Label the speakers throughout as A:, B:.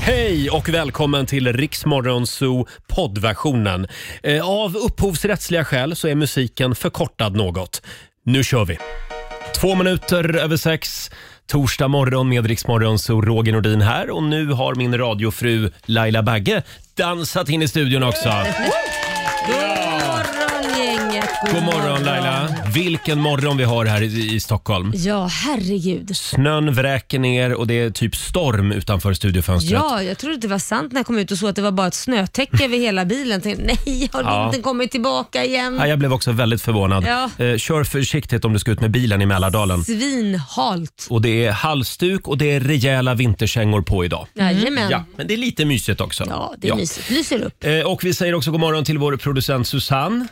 A: Hej och välkommen till Riksmorgon Zoo poddversionen. Eh, Av upphovsrättsliga skäl så är musiken förkortad något. Nu kör vi! Två minuter över sex, torsdag morgon med Riksmorgon Zoo. Roger Nordin här och nu har min radiofru Laila Bagge dansat in i studion också.
B: morgon gänget.
A: God morgon Laila! Vilken morgon vi har här i, i Stockholm.
B: Ja, herregud.
A: Snön vräker ner och det är typ storm utanför studiofönstret.
B: Ja, jag trodde det var sant när jag kom ut och såg att det var bara ett snötäcke över hela bilen. Tänkte, nej, har
A: Ja.
B: vintern kommit tillbaka
A: Ja,
B: igen?
A: jag blev också väldigt förvånad.
B: Ja.
A: Eh, kör försiktigt om du ska ut med bilen i Mälardalen.
B: Svinhalt.
A: Och det är halsduk och det är rejäla vinterkängor på idag.
B: Jajamän.
A: Mm. Ja, men det är lite mysigt också.
B: Mm. Ja, det är mysigt. Lyser upp.
A: Eh, och vi säger också god morgon till vår producent Susanne.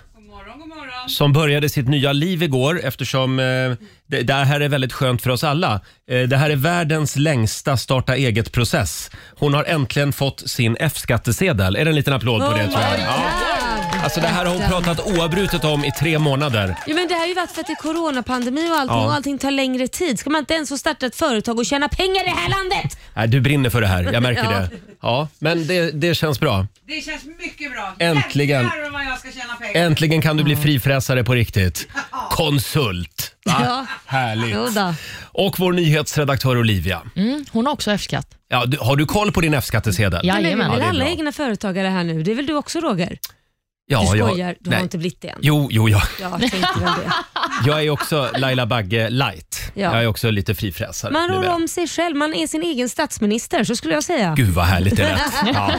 A: Som började sitt nya liv igår eftersom eh, det, det här är väldigt skönt för oss alla. Eh, det här är världens längsta starta eget-process. Hon har äntligen fått sin F-skattesedel. Är det en liten applåd på
B: Oh
A: det tror jag? Ja. Alltså det här har hon pratat oavbrutet om i tre månader.
B: Ja, men det har ju varit för att det är coronapandemi och allting
A: Ja.
B: och allting tar längre tid. Ska man inte ens få starta ett företag och tjäna pengar i det här landet?
A: Nej, du brinner för det här, jag märker
B: Ja.
A: det. Ja, men det, det känns bra.
C: Det känns mycket bra.
A: Äntligen.
C: Jävlar vad jag ska tjäna pengar.
A: Äntligen kan du bli frifräsare på riktigt. Konsult! Va?
B: Ja. Mm. Jo
A: Härligt.
B: då.
A: Och vår nyhetsredaktör Olivia.
D: Hon har också F-skatt.
A: Ja, du, har du koll på din F-skattsedel?
D: Ja.
B: Men vi är
D: Jajamän.
A: Ja,
B: väl
A: det är
B: alla
A: bra.
B: egna företagare här nu? Det är väl du också Roger?
A: Ja,
B: Du
A: jag-
B: skojar, du
A: nej.
B: har inte blivit det än.
A: Jo, jo, ja.
B: Jag tänkte väl det.
A: jag är också Laila Bagge light.
B: Ja.
A: Jag är också lite frifräsare.
B: Man rår
A: numera.
B: om sig själv, man är sin egen statsminister, så skulle jag säga.
A: Gud vad härligt det lät. Ja.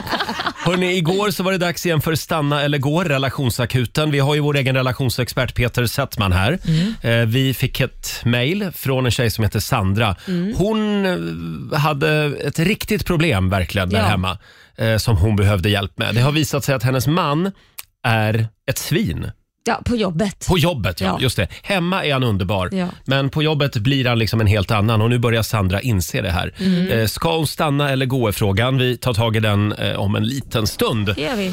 A: Hörrni, igår så var det dags igen för Stanna eller gå, relationsakuten. Vi har ju vår egen relationsexpert Peter Settman här. Eh, Vi fick ett mejl från en tjej som heter Sandra. Hon eh, hade ett riktigt problem verkligen där
B: Ja.
A: hemma eh, som hon behövde hjälp med. Det har visat sig att hennes man är ett svin.
B: Ja, på jobbet.
A: På jobbet, ja.
B: Ja.
A: Just det. Hemma är han underbar,
B: Ja.
A: men på jobbet blir han liksom en helt annan. Och nu börjar Sandra inse det här.
B: Mm.
A: Eh, Ska hon stanna eller gå är frågan. Vi tar tag i den eh, om en liten stund.
B: Det gör vi.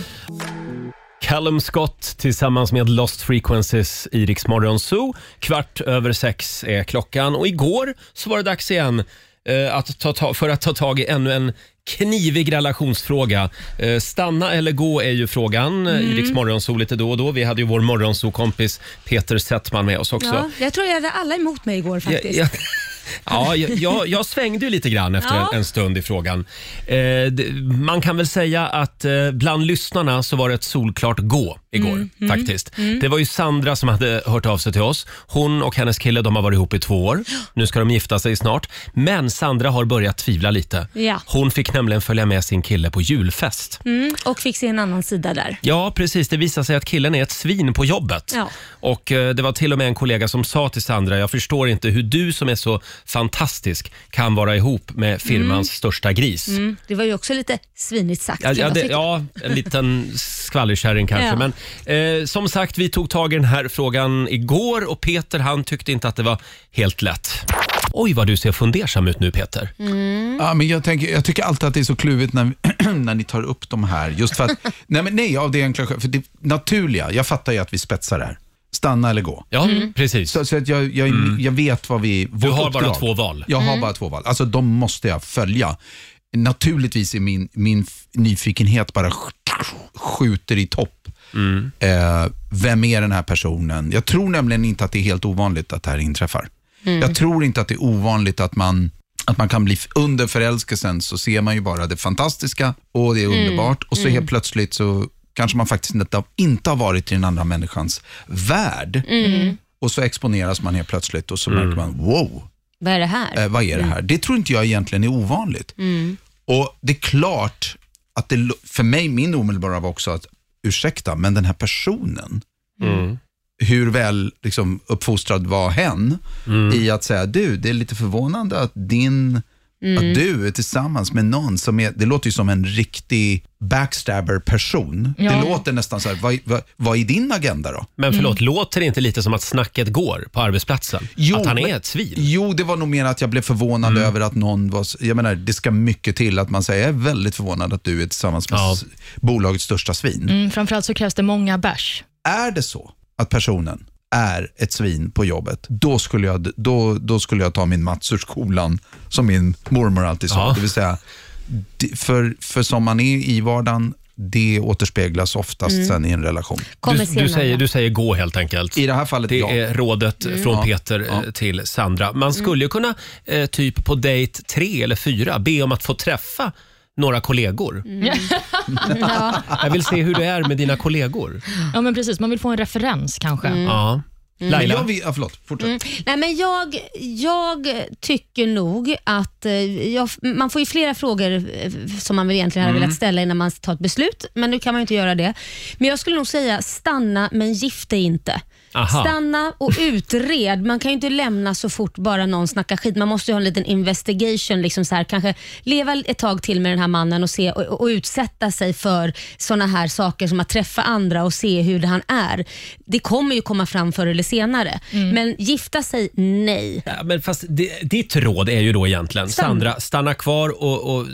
A: Callum Scott tillsammans med Lost Frequencies i Rix Morgon Zoo. Kvart över sex är klockan. Och igår så var det dags igen eh, att ta ta- för att ta tag i ännu en knivig relationsfråga. Eh, Stanna eller gå är ju frågan eh, i Rix Morgon Zoo lite då och då. Vi hade ju vår morgonzoo-kompis Peter Settman med oss också.
B: Ja, jag tror jag hade alla emot mig igår
A: Ja,
B: faktiskt.
A: ja, ja, jag, jag, jag svängde ju lite grann efter
B: Ja.
A: en, en stund i frågan. Eh, det, man kan väl säga att eh, bland lyssnarna så var det ett solklart gå igår
B: Mm,
A: faktiskt. Det var ju Sandra som hade hört av sig till oss. Hon och hennes kille de har varit ihop i två år. Nu ska de gifta sig snart. Men Sandra har börjat tvivla lite.
B: Ja.
A: Hon fick nämligen följa med sin kille på julfest.
B: Mm, och fick se en annan sida där.
A: Ja, precis. Det visar sig att killen är ett svin på jobbet.
B: Ja.
A: Och eh, Det var till och med en kollega som sa till Sandra, jag förstår inte hur du som är så fantastisk kan vara ihop med firmans största gris.
B: Mm, det var ju också lite svinigt sagt.
A: Ja, ja,
B: Jag
A: det,
B: tyckte-
A: ja, en liten skvallerkärring kanske.
B: Ja.
A: Men eh, som sagt, vi tog tag i den här frågan igår och Peter han tyckte inte att det var helt lätt. Oj, vad du ser fundersam ut nu Peter.
B: Mm.
E: Ja, men jag, tänker, jag tycker alltid att det är så kluvigt när, när ni tar upp de här. Just för att, nej, men nej, av det enkla skälet. För det naturliga, jag fattar ju att vi spetsar det här. Stanna eller gå.
A: Ja,
B: Mm.
A: precis.
E: Så,
A: Mm.
E: så att jag, jag, jag vet vad vi...
A: Du har bara två val.
E: Jag har bara två val. Alltså de måste jag följa. Naturligtvis är min, min f- nyfikenhet bara sk- skjuter i topp.
A: Mm.
E: Eh, vem är den här personen? Jag tror nämligen inte att det är helt ovanligt att det här inträffar. Jag tror inte att det är ovanligt att man att man kan bli f- under förälskelsen så ser man ju bara det fantastiska och det är underbart och så helt plötsligt så kanske man faktiskt inte, inte har varit i den andra människans värld och så exponeras man helt plötsligt och så märker man wow,
B: Vad är det här?
E: eh, vad är det här? Det tror inte jag egentligen är ovanligt. Och det är klart att det, lo- för mig, min omedelbara var också att, ursäkta, men den här personen, hur väl liksom, uppfostrad var hen i att säga, du, det är lite förvånande att din Att du är tillsammans med någon som är, det låter ju som en riktig backstabber-person. Det låter nästan så här, vad, vad, vad är din agenda då?
A: Men förlåt,
B: Mm.
A: låter det inte lite som att snacket går på arbetsplatsen?
E: Jo,
A: att han är
E: men-
A: ett svin? Mm.
E: Jo, det var nog mer att jag blev förvånad över att någon var... s- Jag menar, det ska mycket till att man säger, jag är väldigt förvånad att du är tillsammans med
A: Ja.
E: s- bolagets största svin.
D: Mm, framförallt så krävs det många bärs.
E: Är det så att personen är ett svin på jobbet, då skulle jag, då, då skulle jag ta min Mats ur skolan, som min mormor alltid sa.
A: Ja.
E: Det vill säga, det- för, för som man är i vardagen, det återspeglas oftast sen i en relation.
A: Du,
B: Kommer senare.
A: du, säger, du säger gå helt enkelt.
E: I det här fallet,
A: Det
E: ja.
A: är rådet
B: Mm.
A: från Peter eh, till Sandra. Man skulle ju kunna, eh, typ på dejt tre eller fyra, be om att få träffa några kollegor.
B: Mm.
D: Ja.
A: Jag vill se hur det är med dina
B: Mm.
A: kollegor.
D: ja, men precis. Man vill få en referens kanske.
A: Ja.
B: Mm.
A: Laila?
E: Jag vill, ja, förlåt, fortsätt.
B: Nej, men jag, jag tycker nog att eh, jag, man får ju flera frågor eh, som man väl egentligen
A: Mm.
B: hade velat ställa innan man tar ett beslut, men nu kan man ju inte göra det. Men jag skulle nog säga stanna men gift dig inte.
A: Aha.
B: Stanna och utred. Man kan ju inte lämna så fort bara någon snackar skit. Man måste ju ha en liten investigation. Liksom så här, kanske leva ett tag till med den här mannen och, se, och, och utsätta sig för såna här saker som att träffa andra och se hur han är. Det kommer ju komma fram förr eller senare. Men gifta sig, nej.
A: Mm. Ja, men fast det, ditt råd är ju då egentligen,
B: Stanna.
A: Sandra, stanna kvar och, och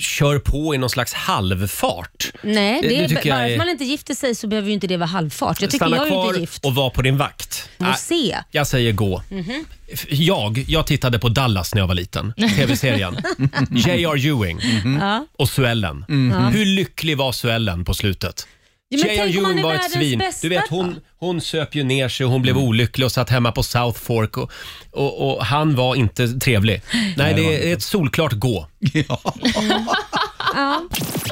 A: kör på i någon slags halvfart.
B: Nej,
A: Det-
B: det,
A: det
B: är,
A: tycker jag
B: bara
A: är-
B: för att man inte gifter sig så behöver ju inte det vara halvfart. Jag tycker
A: stanna
B: jag är ju
A: kvar
B: inte gift.
A: och var på din vakt.
B: Och
A: Nej,
B: se.
A: jag säger gå.
B: Mhm.
A: F- Jag, jag tittade på Dallas när jag var liten, tv-serien. J.R. Ewing
B: Mhm.
A: och Suellen. Hur lycklig var Suellen på slutet?
B: Ja, men
A: J.R.
B: tänk om han
A: Ewing
B: är
A: var ett
B: världens
A: svin. Du
B: bästa. Mm.
A: vet, hon, hon söp ju ner sig och hon blev olycklig och satt hemma på South Fork. Och, och, och han var inte trevlig. Nej, det är ett solklart gå.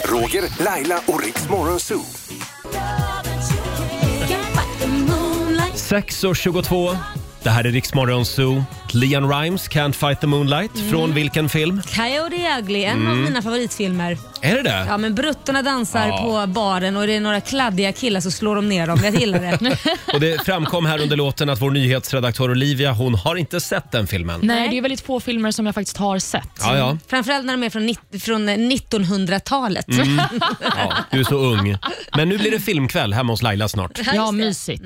F: Roger, Laila och Riks Morgonzoo.
A: Sex och 22. Det här är Riksmorgon Zoo. Leon Rimes, Can't Fight the Moonlight.
B: Mm.
A: Från vilken film?
B: Coyote Ugly, en
A: Mm.
B: av mina favoritfilmer.
A: Är det det?
B: Ja men bruttorna dansar
A: Ja.
B: på baren och det är några kladdiga killar så slår de ner dem. Jag gillar det.
A: Och det framkom här under låten att vår nyhetsredaktör Olivia, hon har inte sett den filmen.
D: Nej, det är väldigt få filmer som jag faktiskt har sett.
A: Ja, ja.
B: Framförallt när de är från, nitt- från eh, 1900-talet.
A: Mm. ja, du är så ung. Men nu blir det filmkväll hemma hos Laila snart.
D: Ja, mysigt.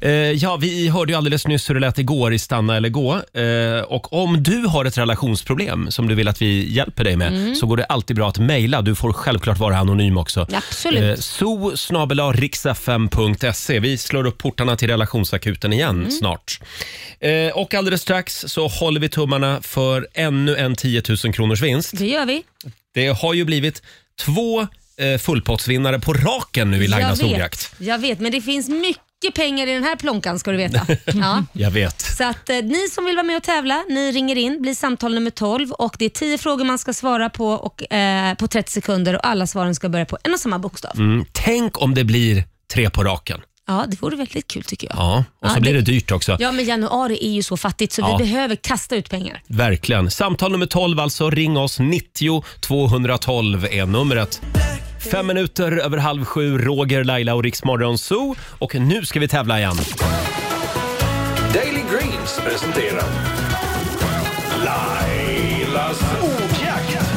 A: Eh, ja, vi hörde ju alldeles nyss hur det lät igår i Stanna eller gå. Eh, och om du har ett relationsproblem som du vill att vi hjälper dig med
B: Mm.
A: så går det alltid bra att mejla. Du får självklart vara anonym också. Eh,
B: Absolut.
A: so riksfm.se. Vi slår upp portarna till relationsakuten igen
B: Mm.
A: snart. Eh, och alldeles strax så håller vi tummarna för ännu en 10 000 kronors vinst.
B: Det gör vi.
A: Det har ju blivit två eh, fullpottsvinnare på raken nu i
B: jag,
A: Lailas ordjakt.
B: vet. jag vet, men det finns mycket pengar i den här plånkan ska du veta. Ja.
A: Jag vet.
B: Så att eh, ni som vill vara med och tävla, ni ringer in, blir samtal nummer 12 och det är 10 frågor man ska svara på och, eh, på 30 sekunder och alla svaren ska börja på en och samma bokstav.
A: Mm, tänk om det blir tre på raken.
B: Ja, det vore väldigt kul tycker jag.
A: Ja, och så
B: Ja,
A: blir det
B: det-
A: dyrt också.
B: Ja, men januari är ju så fattigt så
A: Ja.
B: vi behöver kasta ut pengar.
A: Verkligen. Samtal nummer 12 alltså. Ring oss. 90 212 är numret. Fem minuter över halv sju, Roger, Laila och Riksmorgon Zoo. Och nu ska vi tävla igen.
F: Daily Greens presenterar Lailas ordjakt.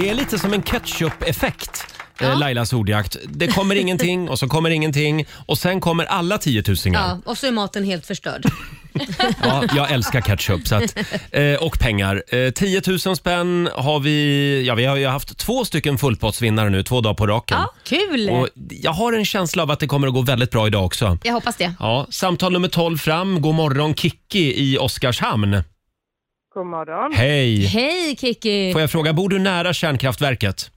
A: Det är lite som en ketchup-effekt. eh, Lailas ordjakt. Det kommer ingenting och så kommer ingenting och sen kommer alla tiotusingar.
B: Ja, och så är maten helt förstörd.
A: Ja, jag älskar ketchup så att, eh, och pengar. Eh, 10 000 spänn har vi. Ja, vi har ju haft två stycken fullpottsvinnare nu, två dagar på raken.
B: Ja, kul!
A: Och jag har en känsla av att det kommer att gå väldigt bra idag också.
B: jag hoppas det.
A: Ja, samtal nummer 12 fram. God morgon Kikki i Oskarshamn.
G: God morgon.
A: Hej!
B: Hej Kiki!
A: Får jag fråga, bor du nära kärnkraftverket?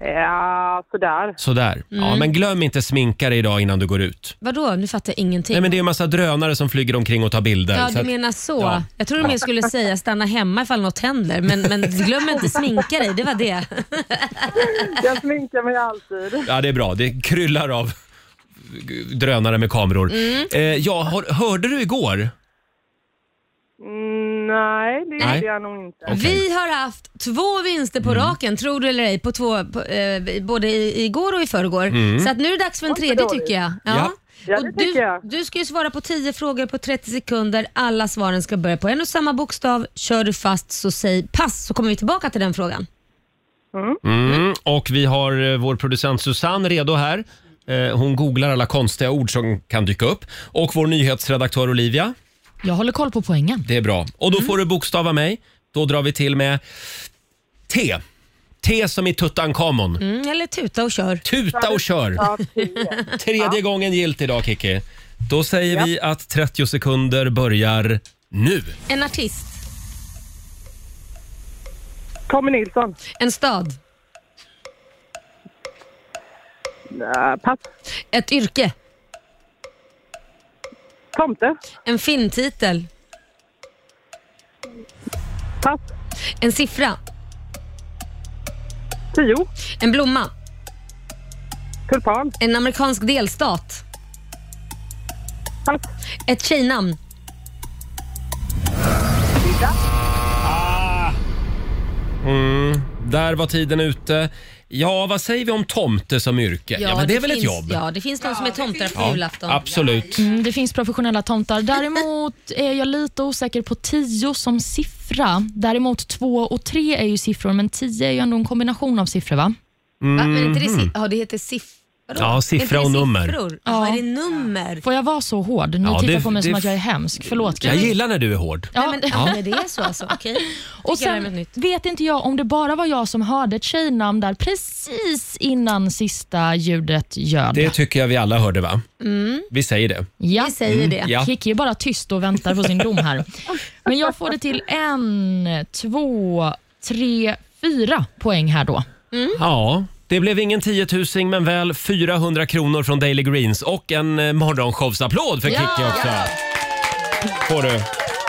G: Ja, sådär.
A: Sådär. Ja,
B: Mm.
A: men glöm inte sminka dig idag innan du går ut.
B: Vadå? Nu fattar jag ingenting.
A: Nej, men det är en massa drönare som flyger omkring och tar bilder.
B: Ja,
A: så
B: du
A: att-
B: menar så.
A: Ja.
B: Jag trodde mer skulle säga stanna hemma ifall något händer, men, men glöm inte sminka dig. Det var det.
G: Jag sminkar mig alltid.
A: Ja, det är bra. Det kryllar av g- drönare med kameror. Eh, ja, hör, hörde du igår?
G: Mm, nej, det
A: Nej.
G: gjorde jag nog inte.
A: Okej. Mm.
B: Vi har haft två vinster på raken, tror du eller ej, på två, på, eh, både i, igår och i förrgår. Så att nu är det dags för en tredje
G: dåligt.
B: tycker jag.
A: Mm. Ja.
G: Ja, det
B: Och
G: tycker
B: du,
G: jag.
B: du ska ju svara på 10 frågor på 30 sekunder. Alla svaren ska börja på en och samma bokstav. Kör du fast så säg pass så kommer vi tillbaka till den frågan.
A: Mm. Och vi har eh, vår producent Susanne redo här. Eh, hon googlar alla konstiga ord som kan dyka upp. Och vår nyhetsredaktör Olivia.
D: Jag håller koll på poängen.
A: Det är bra. Och då
G: Mm.
A: får du bokstava mig. Då drar vi till med T. T som i Tutankhamon.
B: Mm, eller tuta och kör.
A: Tuta och kör.
G: Ja, tio.
A: Tredje gången gilt idag Kiki. Då säger vi att 30 sekunder börjar nu.
B: En artist.
G: Tommy Nilsson.
B: En stad.
G: Eh, pass.
B: Ett yrke.
G: Tomte.
B: En filmtitel.
G: Pass.
B: En siffra.
G: Tio.
B: En blomma.
G: Tulpan.
B: En amerikansk delstat.
G: Pass.
B: Ett tjejnamn.
A: Mm. Där var tiden ute. Ja, vad säger vi om tomte som yrke? Ja, men det, är väl ett
B: finns,
A: jobb?
B: Ja, det finns de som är tomtar på julafton.
A: Absolut.
D: Mm, det finns professionella tomtar. Däremot är jag lite osäker på 10 som siffra. Däremot 2 och 3 är ju siffror, men 10 är ju ändå en kombination av siffror, va?
B: Va? Men är inte det, si- ja, det heter siffror.
A: Mm. Ja, siffra
B: Är inte det
A: och nummer.
B: siffror? Ja. är det nummer?
D: Får jag vara så hård? Ni
A: Ja,
D: tittar
A: det-
D: på mig som
A: det-
D: att jag är hemsk. Förlåt.
A: Jag gillar när du är hård.
D: Ja.
B: Nej, men, ja. men det är så alltså. Okej.
D: Och
B: Fick jag lära mig
D: sen
B: något nytt.
D: vet inte jag om det bara var jag som hörde ett tjejnamn där precis innan sista ljudet ljöd.
A: Det tycker jag vi alla hörde, va? Vi säger det.
D: Ja.
B: Vi säger det.
A: Mm. Ja.
D: Kiki är bara tyst och väntar på sin dom här. Men jag får det till en, två, tre, fyra poäng här då.
A: Ja. Det blev ingen 10 000 men väl 400 kronor från Daily Greens och en eh, morgonshowsapplåd för Kikki också. Får du.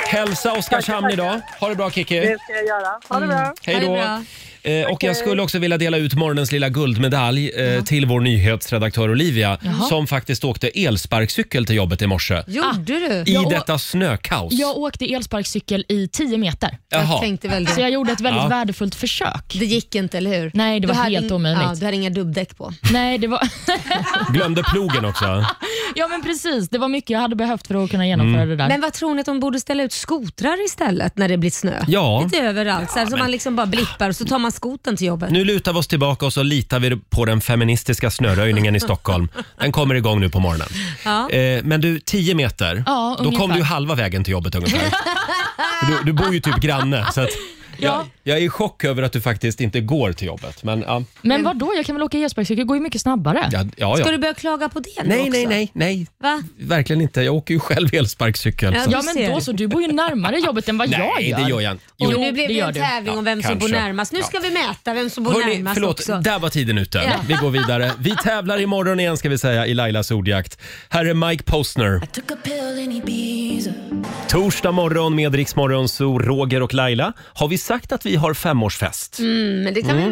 A: Hälsa Oskarshamn idag. Ha det bra Kikki.
G: Det ska jag göra. Ha det bra.
A: Hej
B: Ha
A: då.
B: det bra.
A: Eh, och jag skulle också vilja dela ut morgonens lilla guldmedalj eh, till vår nyhetsredaktör Olivia som faktiskt åkte elsparkcykel till jobbet i morse.
B: Gjorde du?
A: I
D: Jag å-
A: detta snökaos.
D: Jag åkte elsparkcykel i 10 meter,
B: Jag
A: Jaha.
B: tänkte väl det.
D: så Alltså, jag gjorde ett väldigt
A: Ja.
D: värdefullt försök.
B: Det gick inte, eller hur?
D: Nej, det
B: Du
D: var
B: hade
D: helt
B: ing-
D: omöjligt.
B: Ja, du hade inga dubbdäck på.
D: Nej, det var...
A: Glömde plogen också.
D: ja, men precis. Det var mycket jag hade behövt för att kunna genomföra
A: Mm.
D: det där.
B: Men vad tror ni att de borde ställa ut skotrar istället när det blir snö?
A: Ja.
B: Lite överallt, så, här, så man liksom bara blippar och så tar man skoten till jobbet.
A: Nu lutar vi oss tillbaka och så litar vi på den feministiska snöröjningen i Stockholm. Den kommer igång nu på morgonen.
B: Ja.
A: Eh, men du, 10 meter.
D: Ja,
A: då kom
D: ungefär.
A: du ju halva vägen till jobbet ungefär. du, du bor ju typ granne. Så att jag,
D: Ja.
A: jag är i chock över att du faktiskt inte går till jobbet. Men, ja,
D: Men vad då? Jag kan väl åka elsparkcykel? Det går ju mycket snabbare.
A: ja, ja, ja.
B: Ska du börja klaga på det nu
A: Nej,
B: också?
A: nej, nej, nej.
B: Va?
A: Verkligen inte. Jag åker ju själv elsparkcykel.
B: Ja,
A: så.
D: Ja,
B: Du
D: men
B: ser.
D: då så. Du bor ju närmare jobbet än vad jag
A: Nej,
D: gör.
A: det gör jag inte. Jo,
B: Oj, nu
D: det
B: blev det ju
D: gör
B: en
D: du.
B: tävling om
A: Ja,
B: vem som
A: kanske.
B: bor närmast. Nu ska vi mäta vem som bor
A: Hörrni,
B: närmast
A: förlåt,
B: också.
A: där var tiden ute.
B: Ja.
A: Vi går vidare. Vi tävlar imorgon igen ska vi säga i Lailas ordjakt. Här är Mike Postner. Torsdag morgon med Rix Morgon, så Roger och Laila. Har vi sagt att vi har femårsfest?
B: Mm, Men det kan vi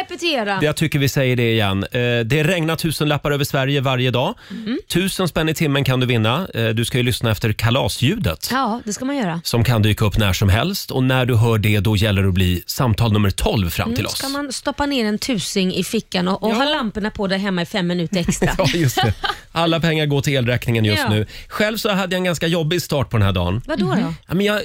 B: repetera.
A: Jag tycker vi säger det igen. Eh, Det regnar tusenlappar över Sverige varje dag.
B: Mm.
A: Tusen spänn i timmen kan du vinna. Eh, Du ska ju lyssna efter kalasljudet.
B: Ja, det ska man göra.
A: som kan dyka upp när som helst. Och när du hör det, då gäller det att bli samtal nummer 12 fram till
B: Nu
A: oss.
B: ska man stoppa ner en tusing i fickan och, och ha lamporna på där hemma i fem minuter extra.
A: Ja, just det. Alla pengar går till elräkningen just
B: Ja.
A: nu. Själv så hade jag en ganska jobbig start på den här dagen.
B: Vadå då?
A: Ja, men jag,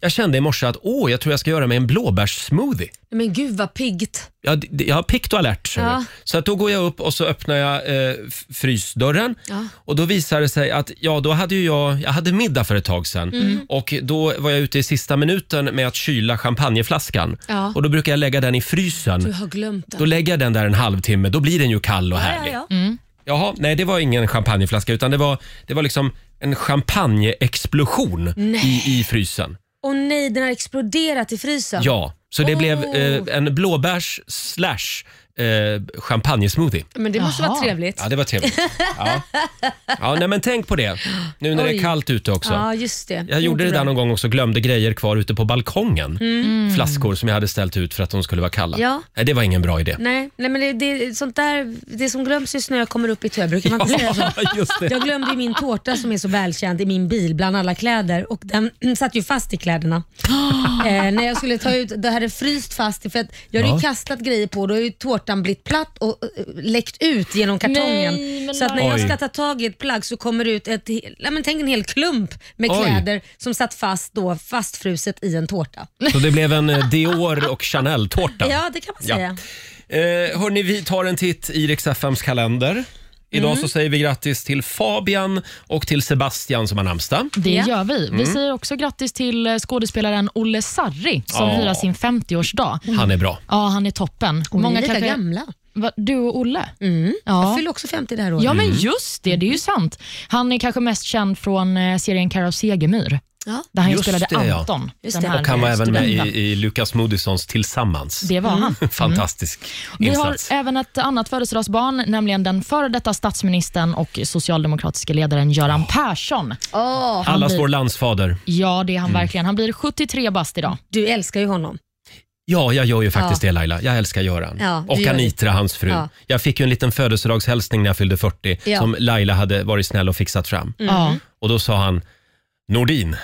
A: jag kände i morse att åh, jag tror jag ska göra mig en blåbärssmoothie.
B: Men gud vad piggt.
A: Jag, jag har pikt och alert. ser du.
B: Ja.
A: Så att då går jag upp och så öppnar jag eh, f- frysdörren.
B: Ja.
A: Och då visar det sig att ja, då hade ju jag, jag hade middag för ett tag sedan.
B: Mm.
A: Och då var jag ute i sista minuten med att kyla champagneflaskan.
B: Ja.
A: Och då brukar jag lägga den i frysen.
B: Du har glömt
A: Då
B: det.
A: lägger jag den där en halvtimme, då blir den ju kall och härlig.
B: Ja, ja,
A: Jaha, nej det var ingen champagneflaska utan det var, det var liksom en champagneexplosion i, i frysen.
B: Och nej, den har exploderat i frysen.
A: Ja, så det
B: Oh.
A: blev eh, en blåbärs slash eh, champagnesmoothie.
B: Men det måste
D: Jaha.
B: vara trevligt.
A: Ja, det var trevligt. Ja. Ja, nej, men tänk på det nu när det är
B: Oj.
A: kallt ute också.
B: Ja, just det.
A: Jag gjorde det
B: Inte
A: där
B: bra. Mm.
A: någon gång också, glömde grejer kvar ute på balkongen. Flaskor som jag hade ställt ut för att de skulle vara kalla.
B: Ja.
A: Nej, det var ingen bra idé.
B: Nej, nej men det, det, sånt där, det som glöms i snö kommer upp i tö, brukar man inte säga så?
A: Just det.
B: Jag glömde ju min tårta som är så välkänd i min bil bland alla kläder och den satt ju fast i kläderna. eh, när jag skulle ta ut, det hade fryst fast i- för att jag hade ju
A: Ja.
B: kastat grejer på då har ju tårtan blivit platt och eh, läckt ut genom kartongen.
D: Nej, men
B: så att när jag
A: Oj.
B: ska ta tag i ett plagg så kommer det ut ett, hel- ja, men tänk en hel klump med
A: Oj.
B: kläder som satt fast då fastfruset i en tårta.
A: Så det blev en eh, Dior och Chanel-tårta.
B: Ja, det kan man
A: Ja.
B: säga.
A: Eh, hörni, vi tar en titt i Rix FMs kalender. Idag
B: Mm.
A: så säger vi grattis till Fabian och till Sebastian som har namnsdag.
D: Det
B: Ja.
D: gör vi.
A: Mm.
D: Vi säger också grattis till eh, skådespelaren Olle Sarri som
A: Ja.
D: firar sin 50-årsdag.
A: Han är bra.
D: Ja, han är toppen.
B: Och Många vi är lika gamla.
D: Va, du och Olle?
B: Jag
D: Ja.
B: fyller också 50 det här året.
A: Mm.
D: ja, men just det. Det är ju sant. Han är kanske mest känd från eh, serien Karo Segemyhr.
B: Ja.
D: Där han ju
A: Just
D: spelade
A: det, ja.
D: Anton.
B: Just
D: den
B: det.
D: här
B: Och
A: Han var även med i,
D: studenten.
A: i Lukas Moodyssons Tillsammans.
D: Det var han.
A: Fantastisk
B: Mm.
D: Vi har
A: insats.
D: även ett annat födelsedagsbarn, nämligen den före detta statsministern och socialdemokratiska ledaren Göran Persson.
B: Åh,
A: Alla Mm.
D: blir-
A: står landsfader.
D: Ja, det är han verkligen. Han blir 73 bast idag.
B: du älskar ju honom.
A: Ja, jag gör ju faktiskt
B: Ja.
A: det Laila. Jag älskar Göran.
B: Ja, du
A: och
B: gör
A: Anitra, hans fru.
B: Ja.
A: Jag fick ju en liten födelsedagshälsning när jag fyllde 40
B: Ja.
A: som Laila hade varit snäll och fixat fram.
B: Mm.
D: Ja.
A: Och då sa han, Nordin,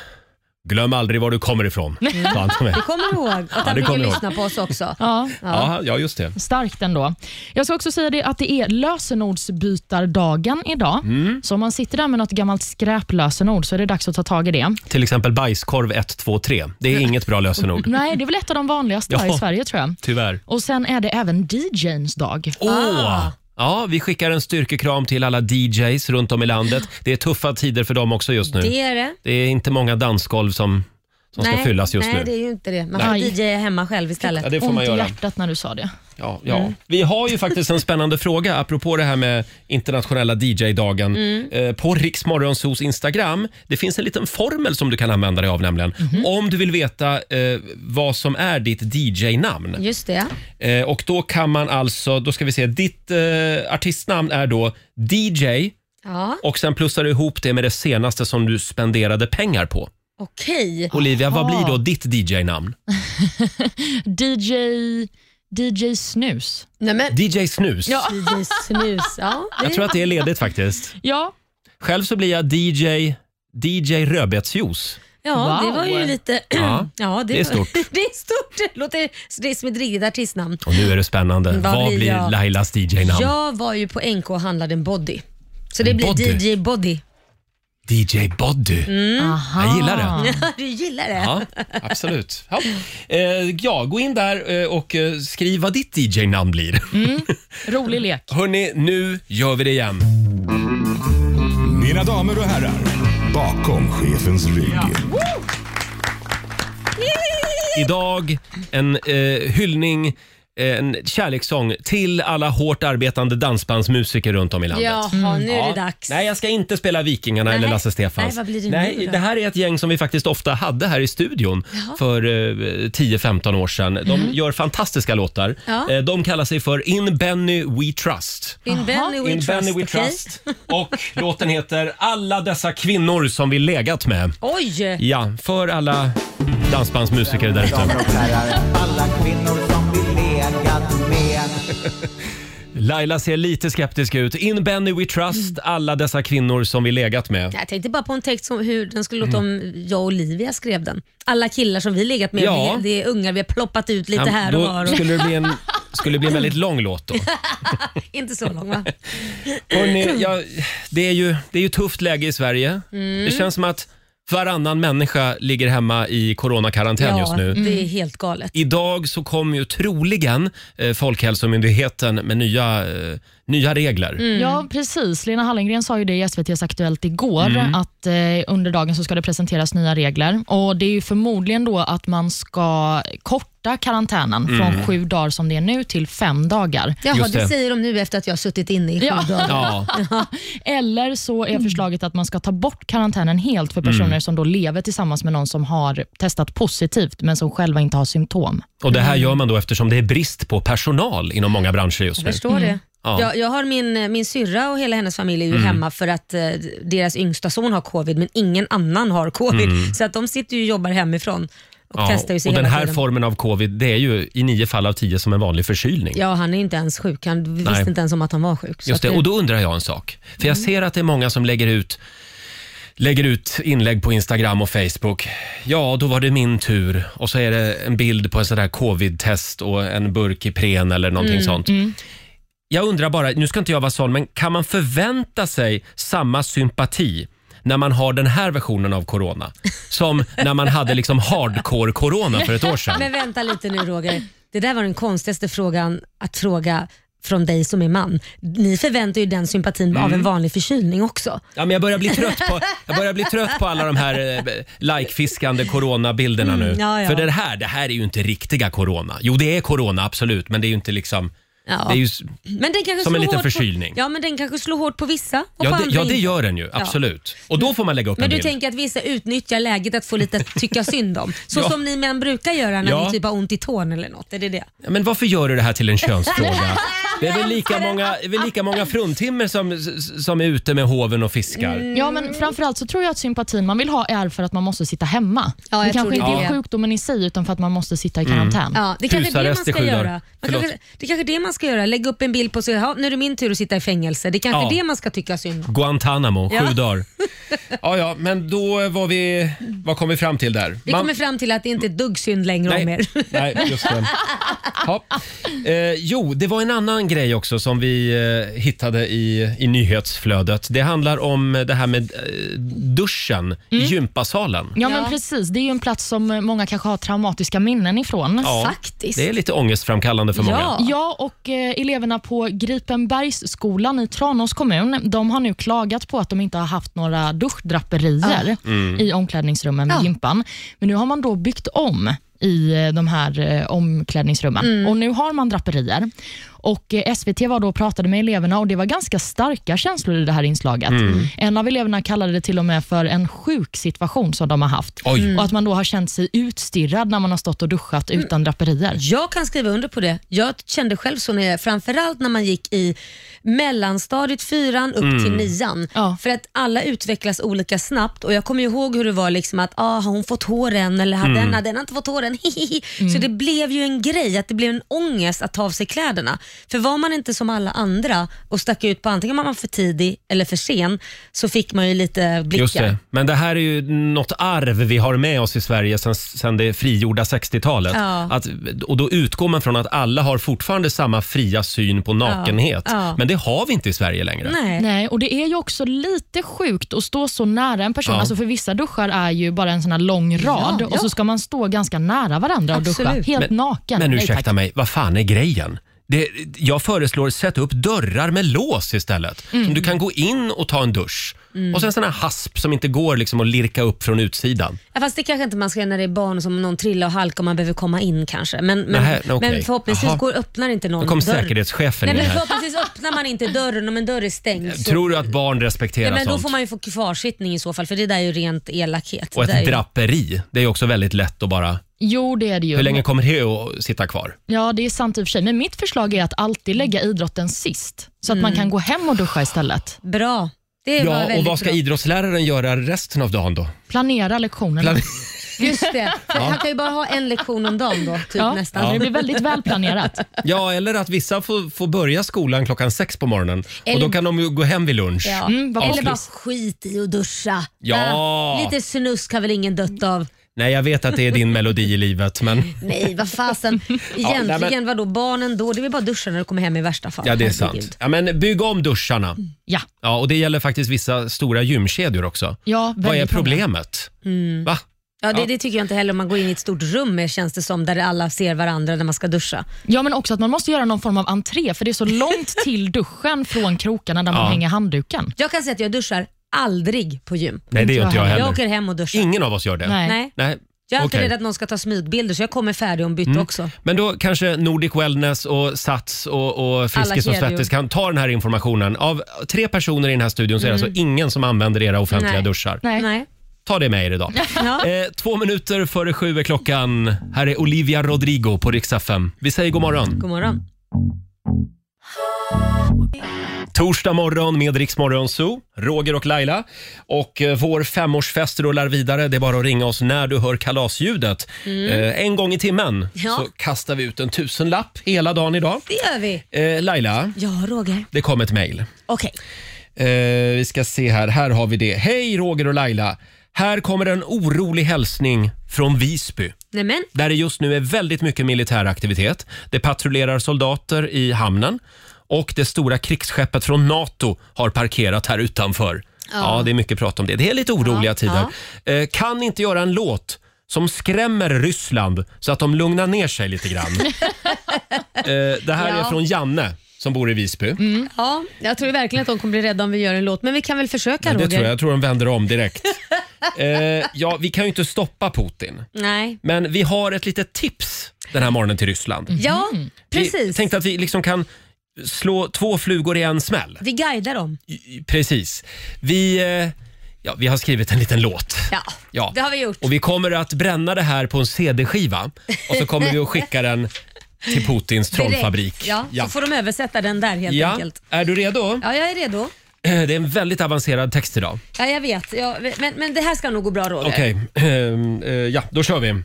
A: glöm aldrig var du kommer ifrån. Sa han till mig.
B: Det kommer du ihåg. Att han
A: det
B: brukar
A: kommer jag ihåg.
B: lyssna på oss också.
D: Ja,
A: Ja, ja, just det.
D: starkt ändå. Jag ska också säga det att det är lösenordsbytardagen idag.
A: Mm.
D: Så om man sitter där med något gammalt skräplösenord så är det dags att ta tag i det.
A: Till exempel bajskorv 1, 2, 3. Det är inget bra lösenord.
D: Nej, det är väl ett av de vanligaste här
A: Ja.
D: i Sverige tror jag.
A: Tyvärr.
D: Och sen är det även DJs dag.
A: Åh!
B: Ah.
A: Ja, vi skickar en styrkekram till alla DJs runt om i landet. Det är tuffa tider för dem också just nu.
B: Det är det.
A: Det är inte många dansgolv som, som ska fyllas just
B: nej,
A: nu.
B: det är ju inte det. Man
D: Nej.
B: får DJa hemma själv istället.
A: Ja, det får
D: Ont
A: man
D: i
A: göra.
D: hjärtat när du sa det.
A: Ja, ja.
D: Mm.
A: Vi har ju faktiskt en spännande fråga apropå det här med internationella DJ-dagen.
D: Mm.
A: Eh, på Riksmorgonsos Instagram det finns en liten formel som du kan använda dig av nämligen.
D: Mhm.
A: Om du vill veta eh, vad som är ditt DJ-namn.
B: Just det.
A: Eh, och då kan man alltså, då ska vi se, ditt eh, artistnamn är då DJ
B: Ja,
A: och sen plussar du ihop det med det senaste som du spenderade pengar på.
B: okej.
A: Olivia, vad
D: Aha.
A: blir då ditt DJ-namn?
D: DJ, DJ Snus.
B: Nej men,
A: DJ Snus.
D: Ja.
B: DJ Snus. Ja, det
A: Jag tror att det är ledigt faktiskt.
D: Ja,
A: Själv så blir jag DJ, DJ rödbetsjuice.
B: Ja,
D: Wow.
B: det var ju lite...
A: Ja,
B: ja,
A: det är
B: var-
A: stort.
B: det är stort. Det låter det är som ett riktigt artistnamn.
A: Och nu är det spännande. Vad,
B: Mm, Vad
A: blir
B: blir jag?
A: Lailas DJ-namn?
B: Jag var ju på NK och handlade en body. Så det
A: En
B: blir
A: body?
B: DJ Body.
A: DJ Boddy.
B: Mm.
D: Aha.
A: Mm. Jag gillar det.
B: du gillar det?
A: Ja, absolut. Ja. Eh, ja, gå in där eh, och eh, skriv vad ditt DJ-namn blir.
D: Rolig lek.
A: Hörni, nu gör vi det igen.
F: Mina damer och herrar, bakom chefens rygg.
A: Idag en eh, hyllning, en kärlekssång till alla hårt arbetande dansbandsmusiker runt om i landet.
B: Jaha, nu är
A: Mm. Ja.
B: det dags.
A: Nej, jag ska inte spela Vikingarna
B: Nej.
A: eller Lasse Stefans.
B: Nej, vad blir det nu
A: Nej,
B: då?
A: det här är ett gäng som vi faktiskt ofta hade här i studion för eh, 10-15 år sedan. De gör fantastiska låtar.
B: Mhm. Ja.
A: Eh, de kallar sig för In Benny We Trust.
B: In Benny We
A: In
B: Trust.
A: Benny We
B: okej?
A: Trust. Och låten heter Alla dessa kvinnor som vi legat med.
B: Oj!
A: Ja, för alla dansbandsmusiker där ute.
H: Alla kvinnor som vi legat med
A: Laila ser lite skeptisk ut. In Benny We Trust, alla dessa kvinnor som vi legat med.
B: Jag tänkte bara på en text som hur den skulle låta
A: Mm.
B: om jag och Olivia skrev den. Alla killar som vi legat med,
A: Ja.
B: vi- det är ungar vi har ploppat ut lite
A: Ja,
B: här och var.
A: då
B: Och,
A: skulle det bli en, skulle det bli en väldigt lång låt då.
B: Inte så lång va?
A: Hörrni, jag, det, är ju, det är ju tufft läge i Sverige.
B: Mm.
A: Det känns som att varannan människa ligger hemma i coronakarantän just nu. Mm.
B: det är helt galet.
A: Idag så kommer ju troligen eh, Folkhälsomyndigheten med nya, eh, nya regler.
B: Mm.
D: Ja, precis. Lena Hallengren sa ju det i SVTs Aktuellt igår,
B: Mm.
D: att eh, under dagen så ska det presenteras nya regler. Och Det är ju förmodligen då att man ska korta karantänen
B: Mm.
D: från sju dagar som det är nu till fem dagar.
B: Jaha,
A: Just
B: det.
A: det.
B: säger de nu efter att jag har suttit inne i sju
D: Ja.
B: dagar.
A: Ja,
D: Eller så
B: Mm.
D: är förslaget att man ska ta bort karantänen helt för personer som då lever tillsammans med någon som har testat positivt men som själva inte har symptom.
A: och det här gör man då eftersom det är brist på personal inom många branscher just nu.
B: Jag förstår det.
A: Mm. Ja. Mm.
B: Jag, jag har min, min syrra och hela hennes familj är ju hemma för att eh, deras yngsta son har covid men ingen annan har covid. Så att de sitter ju och jobbar hemifrån och
A: Mm. Ja,
B: testar ju sig
A: och den
B: hela
A: här
B: tiden.
A: formen av covid, det är ju i nio fall av tio som en vanlig förkylning.
B: Ja, han är inte ens sjuk. Han vi
A: Nej.
B: visste inte ens om att han var sjuk. Så
A: Just det,
B: att Mm.
A: och då undrar jag en sak. För jag ser att det är många som lägger ut, lägger ut inlägg på Instagram och Facebook. Ja, då var det min tur. Och så är det en bild på en sån där covid-test och en burk Ipren eller någonting
B: Mm,
A: sånt. Jag undrar bara, nu ska inte jag vara sån, men kan man förvänta sig samma sympati när man har den här versionen av corona som när man hade liksom hardcore-corona för ett år sedan?
B: Men vänta lite nu Roger. Det där var den konstigaste frågan att fråga från dig som är man. Ni förväntar ju den sympatin av
A: Mm.
B: en vanlig förkylning också.
A: Ja, men jag, börjar bli trött på, jag börjar bli trött på alla de här eh, likefiskande coronabilderna nu.
B: ja, ja.
A: För det här, det här är ju inte riktiga corona. Jo, det är corona absolut, men det är ju inte liksom
B: Ja.
A: Det är ju, s-
B: men den kanske
A: som en
B: slår
A: liten
B: hårt
A: förkylning.
B: På, ja, men den kanske slår hårt på vissa och
A: ja,
B: på
A: det,
B: andra
A: ja, det
B: inte.
A: gör den ju. Absolut. Och då får man lägga upp en
B: Men du
A: bild.
B: tänker att vissa utnyttjar läget att få lite att tycka synd om? Så
A: Ja.
B: som ni män brukar göra när
A: Ja.
B: ni typ har ont i tån eller något. Är det det?
A: Ja, Men varför gör du det här till en könsfråga? Det är väl lika många, det är väl lika många fruntimmer som, som är ute med hoven och fiskar?
B: Mm.
D: Ja, men framförallt så tror jag att sympatin man vill ha är för att man måste sitta hemma.
B: Ja, jag
D: det kanske
B: tror
D: inte
B: det. Mm.
D: är sjukdomen i sig, utan för att man måste sitta i karantän.
B: Ja, det kanske är det man
A: Husarrest i
B: ska
A: sju dagar.
B: göra. Man
A: Förlåt.
B: kanske, det kanske är det man ska göra. Lägga upp en bild på sig. "Ja, Nu är det min tur att sitta i fängelse. Det kanske
A: Ja.
B: är det man ska tycka synd om.
A: Guantanamo, sju
B: Ja.
A: dagar. Ja, ja, men då var vi... Vad kom vi fram till där?
B: Vi
A: Man-
B: kommer fram till att det inte är ett dugg synd längre om
A: Nej,
B: er.
A: nej, just det. Ja. Eh, jo, det var en annan grej också som vi eh, hittade i, i nyhetsflödet. Det handlar om det här med eh, duschen i
B: Mm.
A: gympasalen.
D: Ja,
B: Ja.
D: men precis. Det är ju en plats som många kanske har traumatiska minnen ifrån.
A: Ja,
B: Faktiskt.
A: Det är lite ångestframkallande för många.
B: Ja.
D: Ja, och eh, eleverna på Gripenbergsskolan i Tranås kommun de har nu klagat på att de inte har haft några duschdraperier i omklädningsrummen
B: Ja.
D: i gympan. Men nu har man då byggt om i eh, de här eh, omklädningsrummen och nu har man draperier. Och eh, SVT var då och pratade med eleverna och det var ganska starka känslor i det här inslaget. En av eleverna kallade det till och med för en sjuk situation som de har haft.
A: Oj.
B: Mm.
D: Och att man då har känt sig utstirrad när man har stått och duschat utan draperier.
B: Jag kan skriva under på det. Jag kände själv så, när jag, framförallt när man gick i mellanstadiet, fyran, upp till
A: Mm.
B: nian.
D: Ja.
B: För att alla utvecklas olika snabbt och jag kommer ju ihåg hur det var liksom att ah, har hon fått håren eller
A: Mm.
B: har den, har den inte fått håren? Hihihi. Så det blev ju en grej, att det blev en ångest att ta av sig kläderna. För var man inte som alla andra och stack ut på antingen var man för tidig eller för sen så fick man ju lite blickar.
A: Just det. Men det här är ju något arv vi har med oss i Sverige sen, sen det frigjorda 60-talet.
B: Ja.
A: Att, och då utgår man från att alla har fortfarande samma fria syn på nakenhet.
B: Ja.
A: Men det har vi inte i Sverige längre.
B: Nej.
D: Nej, och det är ju också lite sjukt att stå så nära en person.
A: Ja.
D: Alltså för vissa duschar är ju bara en sån här lång rad
B: Ja,
D: och så ska man stå ganska nära varandra och duscha.
B: Absolut.
D: Helt naken.
A: Men
D: Nej,
A: ursäkta
D: tack.
A: mig, vad fan är grejen? Det, jag föreslår sätt upp dörrar med lås istället.
B: Mm.
A: Som du kan gå in och ta en dusch. Och sen sån här hasp som inte går liksom att lirka upp från utsidan.
B: Ja, fast det kanske inte man ska göra när det är barn som någon trillar och halkar och man behöver komma in kanske. Men, men,
A: Nähä, nej, okej.
B: men förhoppningsvis
A: Jaha.
B: går, öppnar inte någon
A: Nu kom
B: dörren.
A: säkerhetschefen
B: Nej,
A: in
B: men
A: här.
B: förhoppningsvis öppnar man inte dörren om en dörr är stängd. Så,
A: Tror du att barn
B: ja,
A: respekterar
B: men då
A: sånt?
B: får man ju få kvarsittning i så fall för det där är ju rent elakhet.
A: Och
B: Det där är
A: ett
B: ju-
A: draperi, det är också väldigt lätt att bara...
D: Jo, det är det ju.
A: Hur länge kommer det att sitta kvar?
D: Ja, det är sant i och för sig. Men mitt förslag är att alltid lägga idrotten sist, så att
B: Mm.
D: man kan gå hem och duscha istället.
B: Bra. Det var
A: Ja,
B: väldigt
A: och vad ska
B: bra.
A: idrottsläraren göra resten av dagen då?
D: Planera lektionerna.
A: Plan-
B: Just det, för han kan ju bara ha en lektion om dagen då, typ
D: ja,
B: nästan.
D: Det blir väldigt välplanerat.
A: Ja, eller att vissa får, får börja skolan klockan sex på morgonen och
B: Eller-
A: då kan de ju gå hem vid lunch.
B: Ja.
D: Mm, vad
B: Eller
D: konstigt.
B: bara skit i att duscha.
A: Ja.
B: Äh, lite snusk har väl ingen dött av.
A: Nej, jag vet att det är din melodi i livet, men
B: Nej, vad fasen. Egentligen,
A: nej, men-
B: vadå barnen då? Det är väl bara duscha när du kommer hem i värsta fall.
A: ja, det är
B: Herregud.
A: sant. Ja, men bygg om duscharna.
D: Ja,
A: Ja, och det gäller faktiskt vissa stora gymkedjor också.
D: ja,
A: Vad är
D: väldigt många.
A: problemet? Va?
B: Ja, det,
A: Ja.
B: det tycker jag inte heller om man går in i ett stort rum känns det som, där alla ser varandra när man ska duscha.
D: Ja, men också att man måste göra någon form av entré, för det är så långt till duschen från krokarna där man
A: Ja.
D: hänger handduken.
B: Jag kan säga att jag duschar aldrig på gym.
A: Nej, det gör inte jag
B: Jag
A: heller.
B: åker hem och duschar.
A: Ingen av oss gör det.
D: Nej.
B: Nej.
A: Nej.
B: Jag är alltid
A: Okej. Mm.
B: rädd att någon ska ta smygbilder så jag kommer färdig ombytt också.
A: Men då kanske Nordic Wellness och Sats och, och Friskis
B: Alla
A: och
B: kedjor.
A: Svettis kan ta den här informationen. Av tre personer i den här studion så är det alltså ingen som använder era offentliga
B: Nej.
A: duschar.
D: Nej.
B: Nej.
A: Ta det med er idag.
B: Ja.
A: Eh, två minuter före sju är klockan. Här är Olivia Rodrigo på riksdag 5. Vi säger god morgon.
B: God morgon.
A: Torsdag morgon med Rix Morgon Zoo, Roger och Laila. Och eh, vår femårsfest rullar vidare. Det är bara att ringa oss när du hör kalasljudet. Eh, en gång i timmen
B: Ja.
A: så kastar vi ut en tusenlapp hela dagen idag.
B: Det gör vi.
A: Eh, Laila,
B: Ja, Roger.
A: det kom ett mejl.
B: Okej.
A: Eh, vi ska se här. Här har vi det. Hej Roger och Laila. Här kommer en orolig hälsning från Visby.
B: Nämen.
A: där det just nu är väldigt mycket militär aktivitet. Det patrullerar soldater i hamnen och det stora krigsskeppet från NATO har parkerat här utanför. Ja, det är mycket prat om det. Det är lite oroliga
B: Ja,
A: tider. Eh, Kan inte göra en låt som skrämmer Ryssland så att de lugnar ner sig lite grann. Eh, det här är
B: Ja. Mm.
A: från Janne som bor i Visby.
B: Ja, jag tror verkligen att de kommer bli rädda om vi gör en låt, men vi kan väl försöka
A: det
B: Roger?
A: tror jag. jag tror de vänder om direkt. Eh, ja, vi kan ju inte stoppa Putin,
B: Nej.
A: men vi har ett litet tips den här morgonen till Ryssland.
B: Ja,
A: Vi
B: precis.
A: tänkte att vi liksom kan slå två flugor i en smäll.
B: Vi guidar dem.
A: I- Precis. Vi, eh, ja, vi har skrivit en liten låt.
B: Ja,
A: Ja.
B: det har vi gjort.
A: Och vi kommer att bränna det här på en CD-skiva och så kommer vi att skicka den till Putins trollfabrik.
B: Direkt. Ja,
A: ja.
B: Så får de översätta den där helt
A: Ja.
B: enkelt.
A: Är du redo?
B: Ja, jag är redo.
A: Det är en väldigt avancerad text idag.
B: Ja, jag vet. Ja, men, men det här ska nog gå bra Roger.
A: Okej, ehm, eh, ja då kör vi. Mm.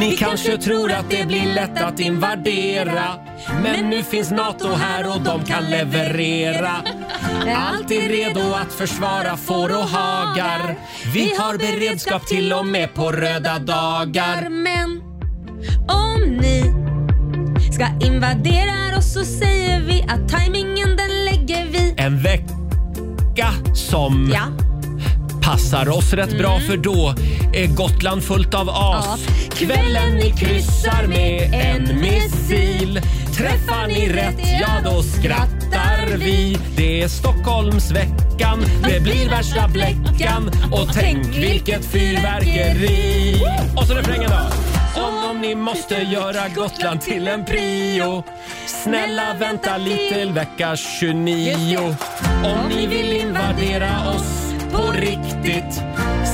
A: Ni kanske tror att det blir lätt att invadera Men nu finns NATO här och de kan leverera Alltid redo att försvara får och hagar Vi har beredskap till och med på röda dagar
B: Men om ni ska invadera oss så säger vi att tajmingen den lägger vi.
A: En vecka som
B: Ja,
A: passar oss rätt bra för då är Gotland fullt av as.
B: Ja.
A: Kvällen ni kryssar med en missil. Träffar ni rätt, ja då skrattar vi. Det är Stockholmsveckan, det blir värsta bläckan och tänk vilket fyrverkeri. Och så refrängen då. Som om ni måste göra Gotland till en prio. Snälla vänta lite vecka 29. Om ni vill invadera oss på riktigt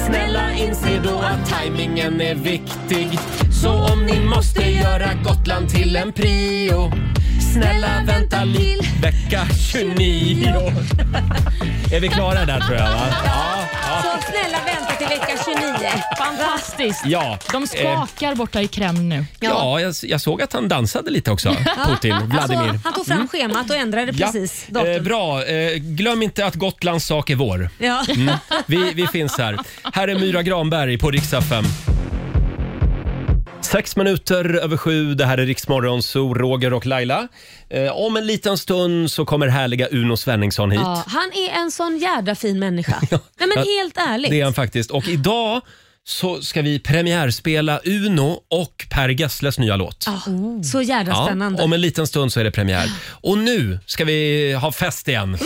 A: Snälla inse då att tajmingen är viktig Så om ni måste göra Gotland till en prio Snälla vänta lill vecka 29 Är vi klara där tror jag va? Ja, ja.
B: så snälla vänta till vecka 29.
D: Fantastiskt.
A: ja.
D: De
A: Eh,
D: skakar borta i Kreml nu.
A: Ja, jag, jag såg att han dansade lite också, Putin, Vladimir. Mm.
B: Alltså, han tog fram schemat och ändrade precis
A: ja. eh,
B: datum.
A: Bra, eh, glöm inte att Gotlands sak är vår.
B: Ja.
A: Mm. Vi, vi finns här. Här är Myra Granberg på riksdag 5. Sex minuter över sju, det här är Riksmorgon, så Roger och Laila. Eh, om en liten stund så kommer härliga Uno Svenningsson hit.
B: Ja, han är en sån jädra fin människa. Nej men
A: Ja,
B: helt ärligt.
A: Det är han faktiskt. Och idag så ska vi premiärspela Uno och Per Gessles nya låt.
B: Ja, Så jädra
A: Ja,
B: spännande.
A: om en liten stund så är det premiär. Och nu ska vi ha fest igen.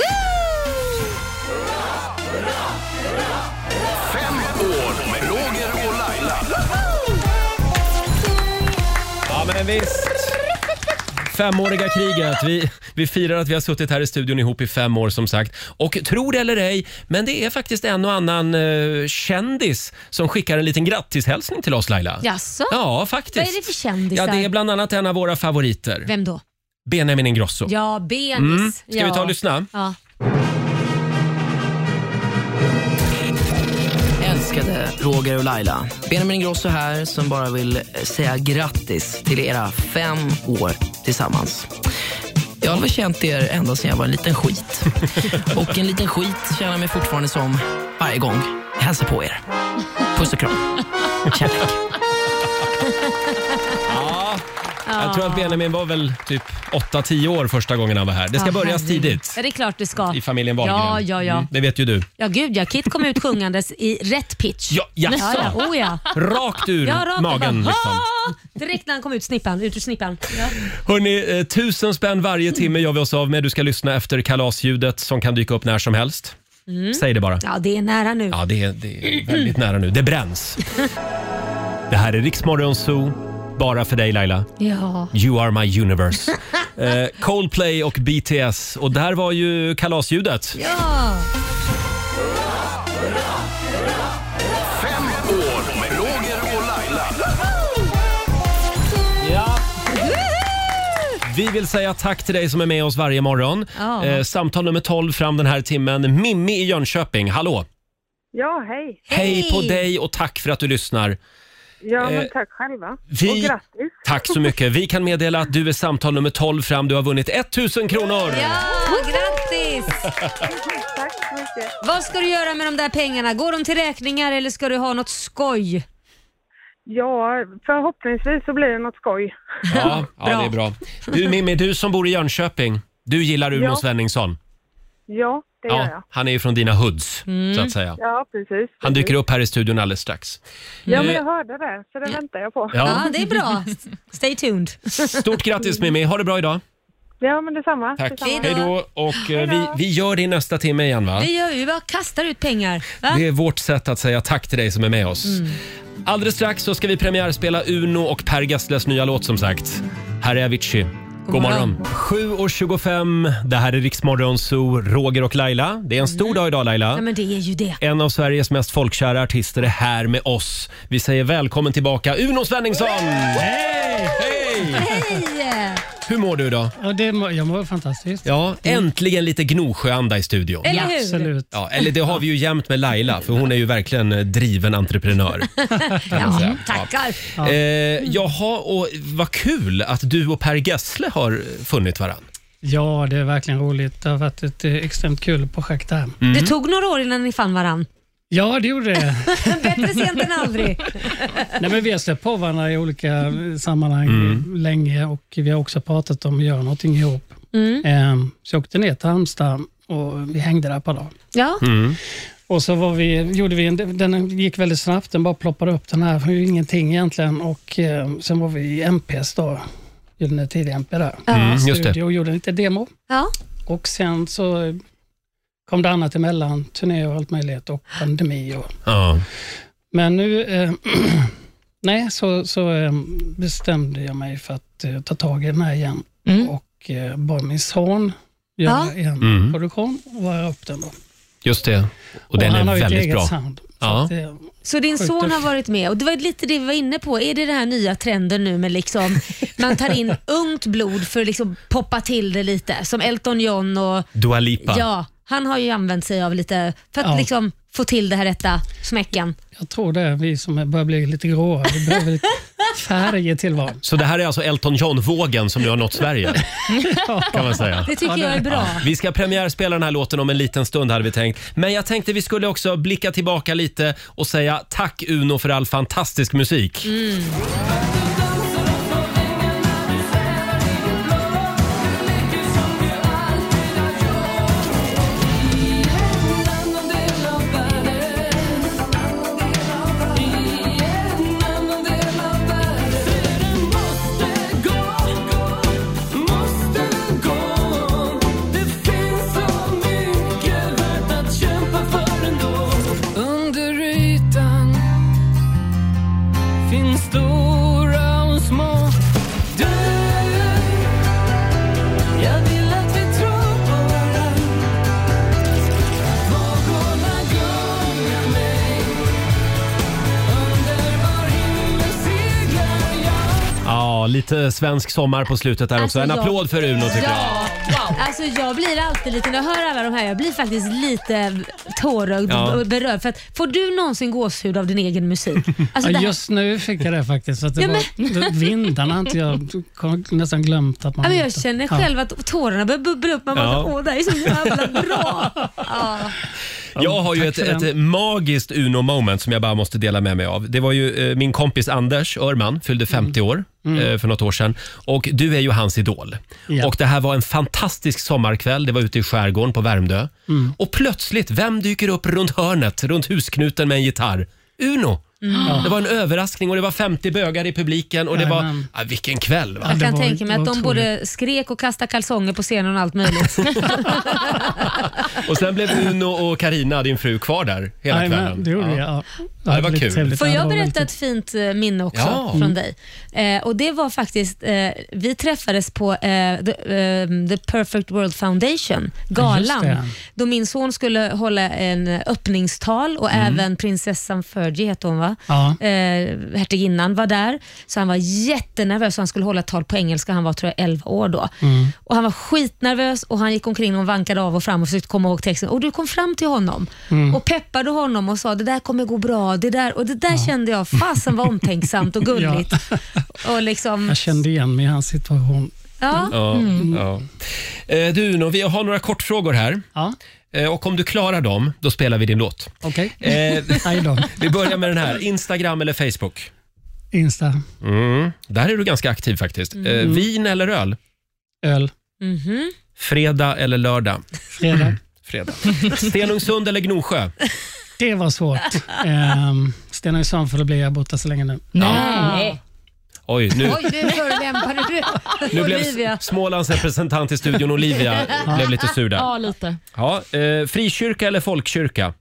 F: Med Roger och Laila.
A: Ja, men visst. Femåriga kriget. Vi, vi firar att vi har suttit här i studion ihop i fem år som sagt. Och tro det eller ej, men det är faktiskt en och annan eh, kändis som skickar en liten grattishälsning till oss Laila.
B: Jaså?
A: Ja, faktiskt.
B: Vad är det för kändisar?
A: Ja, det är bland annat en av våra favoriter.
B: Vem då?
A: Benjamin Ingrosso.
B: Ja, Benis.
A: Mm. Ska
B: ja.
A: vi ta och lyssna?
B: Ja.
I: Mm. Älskade Roger och Laila. Benjamin Ingrosso här som bara vill eh, säga grattis till era fem år tillsammans. Jag har väl känt er ända sedan jag var en liten skit. Och en liten skit känner jag mig fortfarande som varje gång jag hälsar på er. Puss och kram. Kärlek.
A: Jag tror att Benjamin var väl typ 8-10 år första gången han var här. Det ska
B: Ja,
A: börjas
B: herregud.
A: tidigt
B: Ja, det är klart det ska.
A: i familjen Wahlgren.
B: Ja, ja, ja.
A: Mm, det vet ju du.
B: Ja, gud ja. Kit kom ut sjungandes i rätt pitch.
A: Ja, jaså.
B: Ja, ja. Oh, ja.
A: Rakt ur
B: Ja, rakt
A: magen
B: bara,
A: liksom.
B: "Ah!" Direkt när han kom ut, snippan, ut ur snippan.
A: Hörni, eh, tusen spänn varje timme gör vi oss av med. Du ska lyssna efter kalasljudet som kan dyka upp när som helst. Säg det bara.
B: Mm. Ja, det är nära nu.
A: Ja, det är, det är väldigt nära nu. Det bränns. Det här är Riksmorgon Zoo. Bara för dig Laila.
B: Ja.
A: You are my universe. Eh, Coldplay och BTS. Och där var ju kalasljudet.
B: Ja.
F: Med Roger och Laila.
A: Vi vill säga tack till dig som är med oss varje morgon.
B: Ja.
A: Eh, samtal nummer 12 fram den här timmen. Mimmi i Jönköping, hallå!
G: Ja, hej.
A: Hej,
B: Hej.
A: på dig och tack för att du lyssnar.
G: Ja,
A: Eh,
G: men tack själva.
A: vi-
G: Och grattis.
A: Tack så mycket. Vi kan meddela att du är samtal nummer 12 fram. Du har vunnit 1000 kronor!
B: ja, grattis!
G: Tack så mycket.
B: Vad ska du göra med de där pengarna? Går de till räkningar eller ska du ha något skoj?
G: Ja, förhoppningsvis så blir det något skoj.
A: Ja, ja det är bra. Du Mimmi, du som bor i Jönköping, du gillar Uno
G: Ja.
A: Svenningsson.
G: Ja, det gör jag.
A: han är ju från dina hoods, så att säga.
G: Ja, precis.
A: Han dyker upp här i studion alldeles strax.
G: Ja, men jag hörde det, så det väntar jag på.
A: Ja.
B: Ja, det är bra. Stay tuned.
A: Stort grattis Mimmi, ha det bra idag.
G: Ja, men detsamma.
A: Tack.
G: detsamma.
A: Hej då. Och eh, vi, vi gör det i nästa timme igen va?
B: Det gör vi, vi bara kastar ut pengar. Va?
A: Det är vårt sätt att säga tack till dig som är med oss. Alldeles strax så ska vi premiärspela Uno och Per Gessles nya låt som sagt. Här är Avicii. God,
B: God
A: morgon.
B: morgon.
A: 7.25, det här är Riksmorgon Zoo, Roger och Laila. Det är en stor dag idag Laila.
B: Ja, men det är ju det.
A: En av Sveriges mest folkkära artister är här med oss. Vi säger välkommen tillbaka Uno Svenningsson! Hej!
B: Hej!
A: Hur mår du idag?
J: Ja, det må, jag mår fantastiskt.
A: Ja, äntligen lite Gnosjöanda i studion.
B: Eller hur?
J: Absolut.
A: Ja, eller det har vi ju jämt med Laila, för hon är ju verkligen eh, driven entreprenör.
B: Ja, Mm, tackar.
A: Eh, jaha, och vad kul att du och Per Gessle har funnit varann.
J: Ja, det är verkligen roligt. Det har varit ett eh, extremt kul projekt det här.
B: Det tog några år innan ni fann varann.
J: Ja, det gjorde det.
B: Bättre sent än aldrig.
J: Nej, men vi har släppt på varandra i olika eh, sammanhang länge och vi har också pratat om att göra någonting ihop.
A: Mm.
J: Eh, Så jag åkte ner till Halmstad och vi hängde där ett par dagar.
B: Ja,
J: Och så var vi, gjorde vi en, den gick väldigt snabbt, den bara ploppade upp den här, ju ingenting egentligen. Och eh, Sen var vi i MPs då, Gyllene Tid i MP där.
A: Mm, just det.
J: Studio och gjorde lite demo.
B: ja.
J: Och sen så kom det annat emellan, turné och allt möjligt och pandemi. Och,
A: Ja.
J: men nu, eh, nej, så, så eh, bestämde jag mig för att eh, ta tag i den här igen
D: Mm.
J: och eh, bad min son göra
B: Ja.
J: en
A: Mm.
J: produktion och vara upp den. Då.
A: Just det. Och den
J: han
A: är
J: har ju ett
A: väldigt
J: eget
A: bra.
J: sound. Så
A: Ja.
J: att, eh,
B: Så din
J: Sjukt
B: son har
J: duktig.
B: varit med och det var lite det vi var inne på. Är det den här nya trenden nu med liksom, man tar in ungt blod för att liksom poppa till det lite? Som Elton John och
A: Dua Lipa.
B: ja, han har ju använt sig av lite för att
J: Ja.
B: liksom få till det här rätta smäcken.
J: jag tror det är vi som är- börjar bli lite gråa. Vi behöver lite färger till varandra.
A: Så det här är alltså Elton John-vågen som nu har nått Sverige, kan man säga.
B: Det tycker jag är bra.
A: Vi ska premiärspela den här låten om en liten stund hade vi tänkt. Men jag tänkte vi skulle också blicka tillbaka lite och säga tack Uno för all fantastisk musik.
B: Mm.
A: Ja, lite svensk sommar på slutet där också.
B: Alltså,
A: En
B: jag-
A: applåd för Uno tycker jag.
B: Ja, alltså jag blir alltid lite, när jag hör alla de här, jag blir faktiskt lite tårögd
A: Ja.
B: och berörd. För att, får du någonsin gåshud av din egen musik? Alltså det
J: Ja,
B: här,
J: just nu fick jag det faktiskt. Så att det
B: Ja,
J: var, vindarna har inte jag kom- nästan glömt att man...
B: Ja, men jag känner
J: Ja.
B: själv att tårarna börjar bubbla upp. Man bara,
A: Ja.
B: åh det här är så jävla bra. Ja.
A: Jag har ju
J: Tack
A: ett,
J: för
A: ett
J: den.
A: magiskt Uno-moment som jag bara måste dela med mig av. Det var ju eh, min kompis Anders Örman, fyllde
J: Mm.
A: 50 år eh, för något år sedan. Och du är ju hans idol.
J: Ja.
A: Och det här var en fantastisk sommarkväll. Det var ute i skärgården på Värmdö.
J: Mm.
A: Och plötsligt, vem dyker upp runt hörnet, runt husknuten med en gitarr? Uno!
J: Mm.
A: Det var en överraskning och det var 50 bögar i publiken och det var...
J: Jajamän.
A: Ja, vilken kväll! Va?
J: Ja,
B: Jag
J: det
B: kan
J: var-
B: tänka mig
J: det
B: att
J: var
B: de både skrek och kastade kalsonger på scenen och allt möjligt.
A: Och sen blev Uno och Karina, din fru, kvar där hela
J: Jajamän,
A: kvällen.
J: det gjorde
A: Ja.
J: jag. Ja.
A: Ja, det var
J: lite
A: kul.
J: trevligt.
B: Får
J: Ja, det
B: jag
J: var
B: berätta
J: väldigt-
B: ett fint eh, minne också
A: Ja.
J: Mm.
B: från dig? Eh, och Det var faktiskt, eh, vi träffades på eh, the, eh, the Perfect World Foundation, galan,
J: Ja, just det.
B: då min son skulle hålla en öppningstal och även prinsessan Fergie hette hon va?
J: Mm. Ja.
B: eh, hertiginnan var där. Så han var jättenervös och han skulle hålla ett tal på engelska. Han var tror jag 11 år då.
J: Mm.
B: Och Han var skitnervös och han gick omkring och vankade av och fram och försökte komma ihåg texten. Och Du kom fram till honom
J: Mm.
B: och peppade honom och sa det där kommer gå bra. Det där, och det där kände jag, fasen var omtänksamt och gulligt. och liksom,
J: Jag kände igen mig i hans situation.
B: ja.
A: Ja,
J: Mm.
A: ja. Eh, Du Uno, vi har några kortfrågor här.
J: Ja,
A: Eh, Och om du klarar dem, då spelar vi din låt.
J: okej.
A: Eh,
J: Hej då.
A: vi börjar med den här. Instagram eller Facebook?
J: Insta,
A: Mm. Där är du ganska aktiv faktiskt. Eh,
J: Mm.
A: vin eller öl?
J: öl,
B: Mhm.
A: Fredag eller lördag?
J: fredag.
B: Mm.
A: Fredag. Stenungsund eller Gnosjö?
J: Det var svårt. Ehm, Stenungsund för då blir jag borta så länge nu.
D: Nej.
A: Oj, nu,
B: Oj, nu förolämpade du
A: nu blev
B: Olivia.
A: S- Smålands representant i studion, Olivia, blev lite sur där.
D: Ja, lite.
A: Ja, eh, frikyrka eller folkkyrka?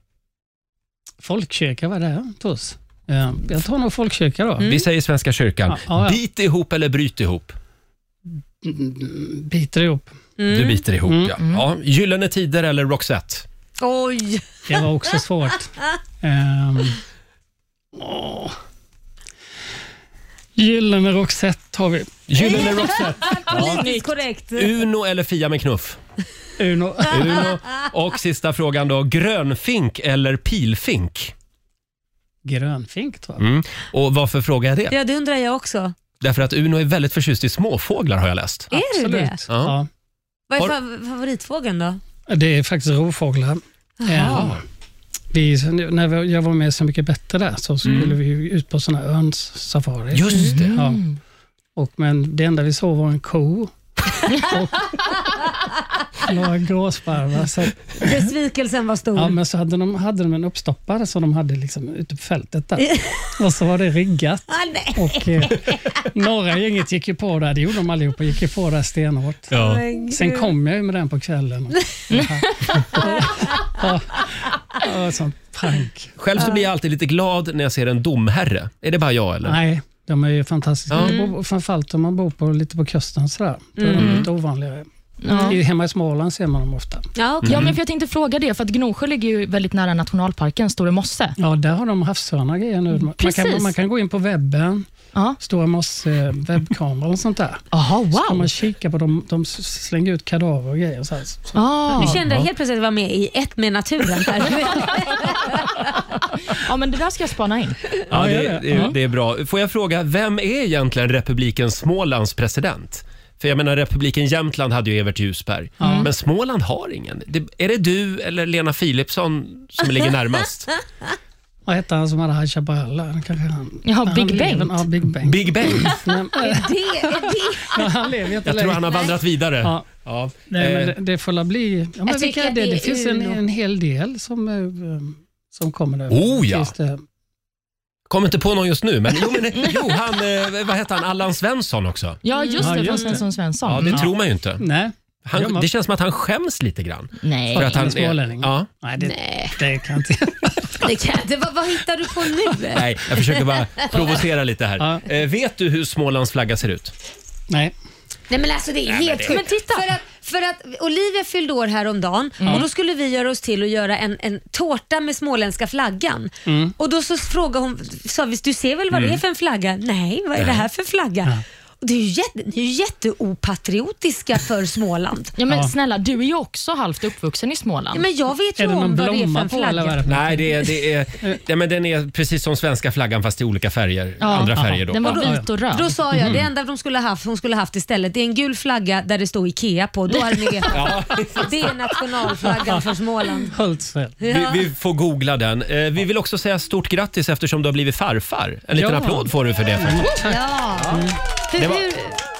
J: Folkkyrka, vad är det? Tuss. Eh, Jag tar nog folkkyrka
B: Mm.
J: då.
A: Vi säger Svenska kyrkan.
J: Mm. Ja, ja, ja.
A: Bit ihop eller bryt ihop?
J: Mm, Biter ihop.
A: Du biter ihop, ja.
J: Mm,
A: ja. Gyllene Tider eller Roxette?
B: Oj!
J: Det var också svårt. Ehm, åh. Gyllene Roxette har vi.
A: Gyllene Roxette.
B: Politiskt korrekt.
A: Uno eller Fia med knuff?
J: Uno.
A: Uno. Och sista frågan då. Grönfink eller pilfink?
J: Grönfink tror jag.
A: Mm. Och varför frågar jag det?
B: Ja, det undrar jag också.
A: Därför att Uno är väldigt förtjust i småfåglar har jag läst.
B: Är du det?
J: Absolut.
A: Ja.
J: Ja.
B: Vad är
A: Har-
B: fa- favoritfågeln då?
J: Det är faktiskt rovfåglar.
B: Jaha.
J: Eh, Vi, när vi- jag var med Så mycket bättre där så
B: Mm.
J: skulle vi ju ut på såna örnssafari.
A: Just det.
J: Ja. Och, men det enda vi såg var en ko och några gråsparvar. Så, att-
B: Besvikelsen var stor.
J: ja, men så hade, de, hade de en uppstoppare som de hade liksom ute på fältet där. Och så var det riggat.
B: Ah, nej.
J: Och, eh, några gänget gick ju på där, det gjorde de allihopa, gick ju på där stenhårt.
A: Ja.
B: Men
J: Sen
B: gud.
J: kom jag ju med den på kvällen. Och, ja, ja, sånt prank.
A: Själv så blir jag alltid lite glad när jag ser en domherre. Är det bara jag eller?
J: Nej, de är ju fantastiska.
A: Ja.
J: Mm. Bo- Framförallt om man bor på, lite på kusten sådär. Då är
A: Mm.
J: de lite ovanligare.
D: Ja.
J: I- Hemma i Småland ser man dem ofta.
B: Ja, okej.
D: Ja, men för jag tänkte fråga det, för att Gnosjö ligger ju väldigt nära nationalparken Store Mosse.
J: Ja, där har de havsörnar och grejer nu. Man
D: Precis.
J: kan, man kan gå in på webben,
D: Ja.
J: Stora Mosse webbkameror och sånt där.
D: Aha,
J: Så kan
D: wow.
J: man kika på dem, de s- slänger ut kadaver och grejer. Så här. Så-
D: Ah.
B: Nu kände jag helt plötsligt att jag var med i ett med naturen. Här.
D: Ja, men det där ska jag spana in.
A: Ja,
J: Ja,
A: det,
J: ja,
A: det, är- det är bra. Får jag fråga, vem är egentligen republiken Smålands president? För jag menar, republiken Jämtland hade ju Evert Ljusberg,
J: Mm.
A: men Småland har ingen. Det, är det du eller Lena Philipsson som ligger närmast?
J: Vad hette han som hade High Chaparral? där? Kanske han-
D: Jaha,
J: han
D: Big
J: lever-
D: Bengt.
J: Ja, Big Bengt.
A: Big Bang.
J: Nej, men-
B: Det är det.
J: Ja, han lever inte
A: Jag tror
J: längre.
A: han har vandrat vidare.
J: Ja.
A: Ja.
J: Nej, men
A: Eh,
J: det, det får la bli... Ja, men
B: tycker
J: vilka är
B: att
J: det?
B: det
J: det
B: är
J: finns en,
B: Uno.
J: en hel del som, eh, som kommer där.
A: Oh, ja.
J: Finns det,
A: Kommer inte på någon just nu, men jo, men, jo han, eh, vad heter han, Allan Svensson också.
D: Ja, just
J: Ja,
D: det,
J: just
D: från
J: det.
D: Svensson Svensson.
A: Ja, det tror man ju inte.
J: nej. Mm. Ja,
A: Han,
J: man-
A: det känns som att han skäms lite grann.
D: Nej.
A: För att han
J: Han är smålänning.
A: Ja.
J: nej, det,
B: Nej.
J: det kan jag inte...
B: det kan, det, vad, vad hittar du på nu?
A: Nej, jag försöker bara provocera lite här.
J: Ja.
A: Eh, vet du hur Smålands flagga ser ut?
J: Nej.
B: Nej men alltså det är helt sjukt. Men titta. För att, för att Olivia fyllde år häromdagen
J: Mm.
B: och då skulle vi göra oss till att göra en, en tårta med småländska flaggan.
J: Mm.
B: Och då så frågade hon, sa vi, du ser väl vad det är för en flagga? Nej, vad är det här för flagga? Och det är ju jätte, ni är ju jätteopatriotiska för Småland.
D: Ja, men
J: Ja.
D: snälla, du är ju också halvt uppvuxen i Småland.
B: Men jag vet ju
J: Är det
B: om
J: någon
B: vad det är för
J: blomma
B: en
J: på eller vad är det
B: flagga.
J: för-
A: Nej, det är, det är, nej, men den är precis som svenska flaggan fast i olika färger.
D: Ja,
A: andra
D: aha.
A: färger då.
D: Den var
A: Ja.
D: vit och röd.
B: Då sa jag,
J: Mm.
B: det enda de skulle ha haft, hon skulle ha haft istället, det är en gul flagga där det står IKEA på. Då hade ni vetat. Det är nationalflaggan för Småland.
J: Hultsfred.
B: Ja.
A: Vi, vi får googla den. Eh, vi vill också säga stort grattis eftersom du har blivit farfar. En liten
J: Ja.
A: applåd får du för det. För.
B: Ja. Hur,
A: Mm. Det var-
B: hur,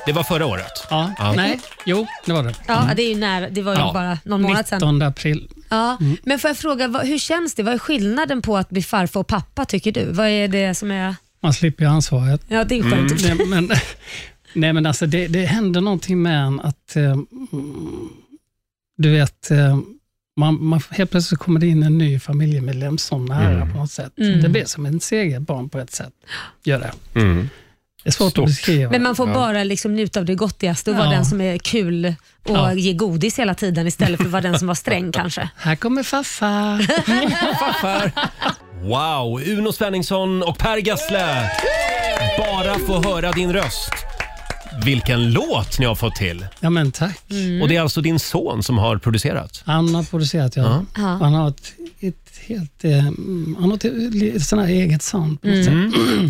A: Det var förra året.
J: Ja.
A: Ja.
J: Nej, jo, det var det.
B: ja, det är ju nära. Det var ju
A: Mm. Ja. Mm.
B: bara någon månad sedan.
J: 19 april.
B: Ja. Men får jag fråga, vad, hur känns det? Vad är skillnaden på att bli farfar och pappa tycker du? Vad är det som är...
J: Man slipper ju ansvaret.
B: Ja, det är skönt.
A: Mm.
J: Nej, men, nej, men alltså det, det händer någonting med en att, eh, mm, du vet, eh, man, man, helt plötsligt kommer det in en ny familjemedlem så nära på något sätt.
B: Mm.
J: Det blir som en seger barn på ett sätt. Gör det.
A: Mm.
J: det är svårt
A: Stort.
J: att beskriva.
B: Men man får bara liksom njuta av det gottigaste och vara
J: Ja.
B: den som är kul och
J: Ja.
B: ge godis hela tiden istället för att vara den som var sträng kanske.
J: Här kommer farfar.
A: Farfar. Wow, Uno Svenningsson och Per Gessle. Bara få höra din röst. Vilken låt ni har fått till.
J: ja, men tack.
B: Mm.
A: Och det är alltså din son som har producerat.
J: Han har producerat, ja.
B: Ja.
J: Han har ett, ett helt, eh, mm, han har ett, li- sån här eget sound på något sätt.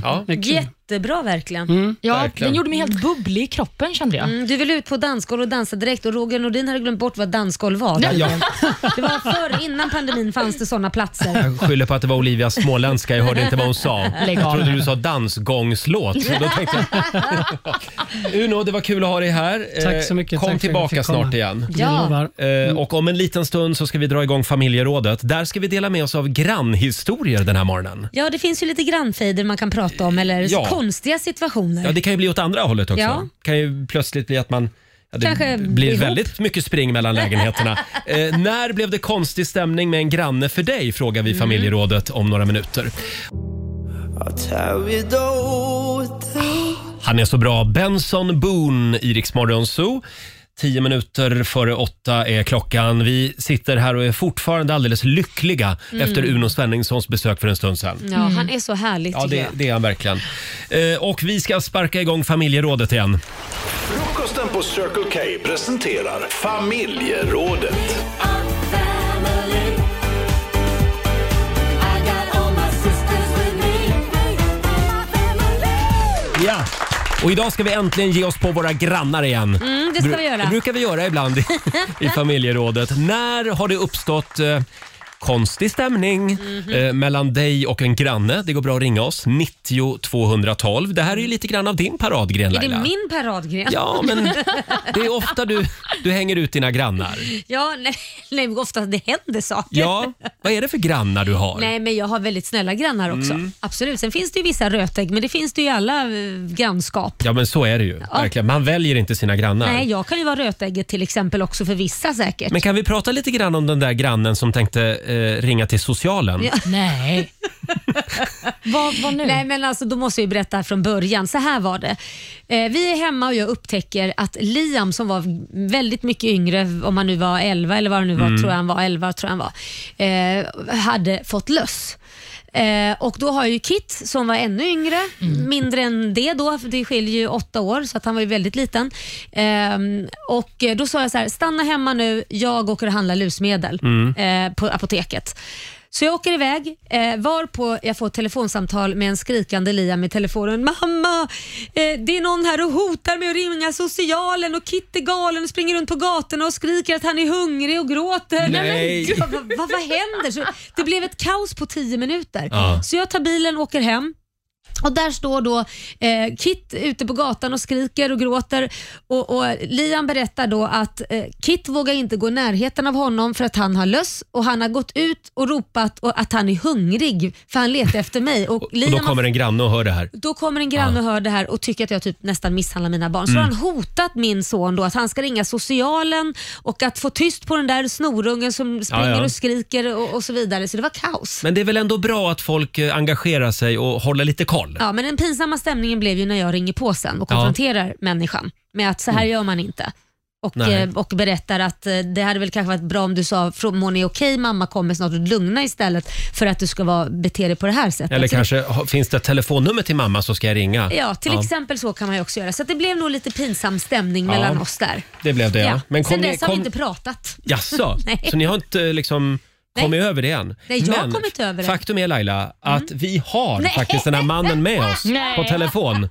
A: Ja. Mm.
J: Det är kul.
B: Jättebra verkligen.
D: Ja,
A: Verkligen.
D: den gjorde mig helt bubblig i kroppen kände jag.
B: Mm, Du ville ut på dansgolv och dansa direkt och Roger Nordin hade glömt bort vad dansgolv var. Det var förr, innan pandemin fanns det sådana platser.
A: Jag skyller på att det var Olivias småländska. Jag hörde inte vad hon sa.
D: Lägg
A: Jag
D: av.
A: trodde du sa dansgångslåt. Så då tänkte jag... Uno, det var kul att ha dig här. Eh,
J: Tack så mycket.
A: Kom
J: Tack för att jag
A: tillbaka
J: fick komma.
A: snart igen.
J: Jag
B: Ja.
J: lovar.
A: Eh, Och om en liten stund så ska vi dra igång familjerådet. Där ska vi dela med oss av grannhistorier den här morgonen.
B: Ja, det finns ju lite grannfejder man kan prata om eller
A: Ja.
B: konstiga situationer.
A: Ja, det kan ju bli åt andra hållet också.
B: Ja.
A: Det kan ju plötsligt bli att man Ja, det
B: Kanske
A: blir
B: ihop.
A: väldigt mycket spring mellan lägenheterna. eh, när blev det konstig stämning med en granne för dig? Frågar vi
I: Mm.
A: familjerådet om några minuter. Han är så bra. Benson Boone i Rix Morgon Zoo. Tio minuter före åtta är klockan. Vi sitter här och är fortfarande alldeles lyckliga
B: Mm.
A: efter Uno Svenningssons besök för en stund sedan.
B: Ja, han är så härlig
A: Ja,
B: tycker
A: det,
B: jag.
A: det är han verkligen. Eh, och vi ska sparka igång familjerådet igen.
F: Frukosten på Circle K presenterar Familjerådet.
A: Ja. Och idag ska vi äntligen ge oss på våra grannar igen.
B: Mm, det ska vi göra.
A: Det brukar vi göra ibland i, i familjerådet. När har det uppstått eh, konstig stämning
B: Mhm.
A: eh, mellan dig och en granne? Det går bra att ringa oss. 90 212. Det här är ju lite grann av din paradgren
B: Är det
A: Laila.
B: min paradgren?
A: Ja, men det är ofta du, du hänger ut dina grannar.
B: Ja, nej, nej, oftast det händer saker.
A: Ja, vad är det för grannar du har?
B: Nej, men jag har väldigt snälla grannar också.
A: Mm.
B: Absolut. Sen finns det ju vissa rötägg, men det finns det ju i alla eh, grannskap.
A: Ja, men så är det ju.
B: Ja.
A: Verkligen. Man väljer inte sina grannar.
B: Nej. jag kan ju vara rötägget till exempel också för vissa säkert.
A: Men kan vi prata lite grann om den där grannen som tänkte eh, ringa till socialen?
B: Ja.
D: Nej. vad, nu?
B: Nej, men alltså, då måste vi berätta från början. Så här var det. Eh, vi är hemma och jag upptäcker att Liam som var väldigt mycket yngre, om han nu var 11 eller vad han nu var,
K: Mm.
B: tror jag han var, 11 tror jag han var, eh, hade fått löss. Eh, och då har jag ju Kit som var ännu yngre,
K: Mm.
B: mindre än det då, för det skiljer ju åtta år så att han var ju väldigt liten. Ehm, och eh, då sa jag så här, stanna hemma nu, jag åker och handlar lusmedel
K: Mm.
B: eh, på apoteket. Så jag åker iväg, eh, varpå jag får ett telefonsamtal med en skrikande Liam i telefonen. Mamma, eh, det är någon här och hotar med att ringa socialen och Kit är galen och springer runt på gatorna och skriker att han är hungrig och gråter.
K: Nej.
B: men gud, vad, vad, vad händer? Så det blev ett kaos på tio minuter.
K: Ja.
B: Så jag tar bilen och åker hem. Och där står då eh, Kit ute på gatan och skriker och gråter och, och Liam berättar då att eh, Kit vågar inte gå i närheten av honom för att han har löss och han har gått ut och ropat och att han är hungrig för han letar efter mig. Och,
A: Och
B: Liam
A: då
B: har-
A: kommer en granne och hör det här.
B: då kommer en granne och hör det här och tycker att jag typ nästan misshandlar mina barn. Så
A: Mm.
B: har han hotat min son då att han ska ringa socialen och att få tyst på den där snorungen som springer
A: ja.
B: och skriker och, och så vidare. Så det var kaos.
A: Men det är väl ändå bra att folk eh, engagerar sig och håller lite koll?
B: Ja, men den pinsamma stämningen blev ju när jag ringer på sen och
A: Ja. Mm.
B: konfronterar människan med att så här gör man inte. Och,
A: Nej.
B: eh, och berättar att eh, det hade väl kanske varit bra om du sa "Frå- mår ni okej mamma kommer snart och lugna istället för att du ska vara, bete dig på det här sättet.
A: Eller
B: Så det-
A: kanske ha- finns det ett telefonnummer till mamma så ska jag ringa?
B: Ja, till exempel så kan man ju också göra. Så att det blev nog lite pinsam stämning
A: Ja.
B: mellan oss där.
A: Det blev det ja.
B: Men Sen
A: ni-
B: dess har vi inte pratat.
A: Jaså?
B: Nej.
A: Så ni har inte eh, liksom kommit över det än?
B: Nej, jag har
A: Men
B: kommit över det. Mm.
A: Faktum är Laila, att vi har
D: Nej.
A: faktiskt den här mannen med oss
D: Nej.
A: på telefon.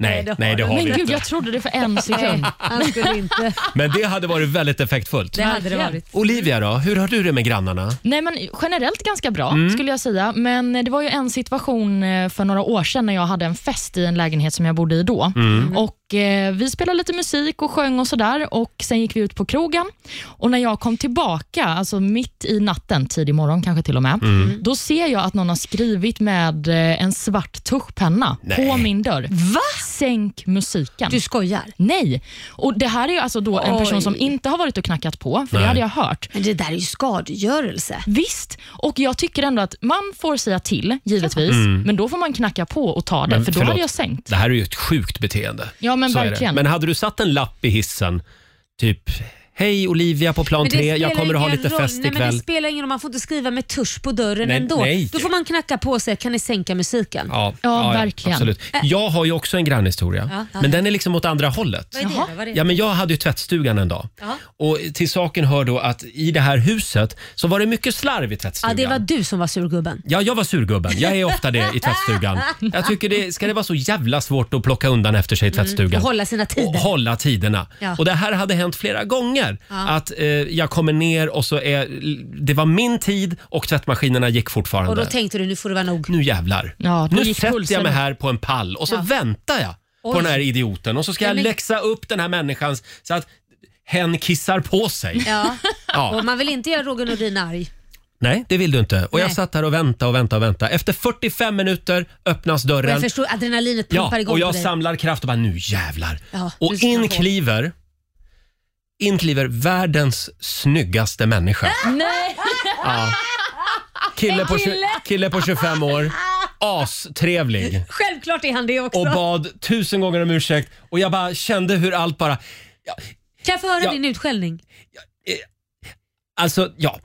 A: Nej, nej det har
D: Men
A: vi
D: gud,
A: inte.
D: jag trodde det för en sekund.
B: Nej, han skulle inte.
A: Men det hade varit väldigt effektfullt.
D: Det hade det varit.
A: Olivia då, hur har du det med grannarna?
D: Nej, men generellt ganska bra
A: Mm.
D: skulle jag säga. Men det var ju en situation eh, för några år sedan när jag hade en fest i en lägenhet som jag bodde i då.
K: Mm.
D: Och eh, Vi spelade lite musik och sjöng och sådär och sen gick vi ut på krogen. Och När jag kom tillbaka, alltså mitt i natten, tidig morgon kanske till och med,
K: Mm.
D: då ser jag att någon har skrivit med eh, en svart tuschpenna
K: Nej.
D: på min dörr.
B: Va?
D: Sänk musiken.
B: Du skojar?
D: Nej. Och Det här är ju alltså då en person
B: Oj.
D: som inte har varit och knackat på, för
B: Nej.
D: det hade jag hört.
B: Men det där är ju skadegörelse.
D: Visst, och jag tycker ändå att man får säga till, givetvis,
A: Mm.
D: men då får man knacka på och ta det,
A: Men
D: för då
A: förlåt,
D: hade jag sänkt.
A: Det här är ju ett sjukt beteende.
D: Ja, men
A: Så är det.
D: verkligen.
A: Men hade du satt en lapp i hissen, typ Hej Olivia på plan
B: Men det
A: 3,
B: spelar
A: jag kommer att ha
B: ingen
A: lite
B: roll.
A: fest
B: nej, men
A: ikväll.
B: Det spelar ingen roll, man får inte skriva med tusch på dörren
A: Nej,
B: ändå.
A: nej.
B: Då får man knacka på och säga, kan ni sänka musiken?
A: Ja,
B: verkligen.
A: absolut.
B: Äh.
A: Jag har ju också en grannhistoria,
B: Ja, ja.
A: men den är liksom åt andra hållet.
B: Vad är det då? Vad är det?
A: Ja, men jag hade ju tvättstugan en dag.
B: Ja.
A: Och till saken hör då att i det här huset så var det mycket slarv i
B: Ja,
A: tvättstugan.
B: det var du som var surgubben.
A: Ja, jag var surgubben. Jag är ofta det i tvättstugan. Jag tycker det, ska det vara så jävla svårt att plocka undan efter sig i tvättstugan?
B: Och hålla sina tider.
A: och hålla tiderna.
B: Ja.
A: Och Det här hade hänt flera gånger.
B: Ja.
A: Att eh, Jag kommer ner och så är, det var min tid och tvättmaskinerna gick fortfarande.
B: Och då tänkte du, nu får det vara nog.
A: nu jävlar.
D: Ja, då
A: nu
D: gick
A: sätter jag
D: pulsen
A: mig
D: upp.
A: här på en pall och så
D: Ja.
A: väntar jag
D: Oj.
A: på den här idioten och så ska
D: Nej,
A: jag
D: men-
A: läxa upp den här människan så att hen kissar på sig.
B: Ja.
A: Ja.
B: Och man vill inte göra Roger Nordin arg.
A: Nej, det vill du inte. Och jag
B: Nej.
A: satt där och väntade och väntade och väntade. Efter 45 minuter öppnas
B: Och jag
A: dörren.
B: förstår adrenalinet pumpar
A: Ja,
B: igång
A: och
B: på
A: jag
B: dig.
A: samlar kraft och bara nu jävlar.
B: Ja,
A: Och
B: du ska
A: in
B: få.
A: kliver, in kliver världens snyggaste människa.
D: Nej!
A: Ja. Kille, på, tju- kille på 25 år, astrevlig.
B: Självklart är han det också.
A: Och bad tusen gånger om ursäkt och jag bara kände hur allt bara...
B: Kan jag få höra
A: Ja.
B: din utskällning?
A: Alltså, ja.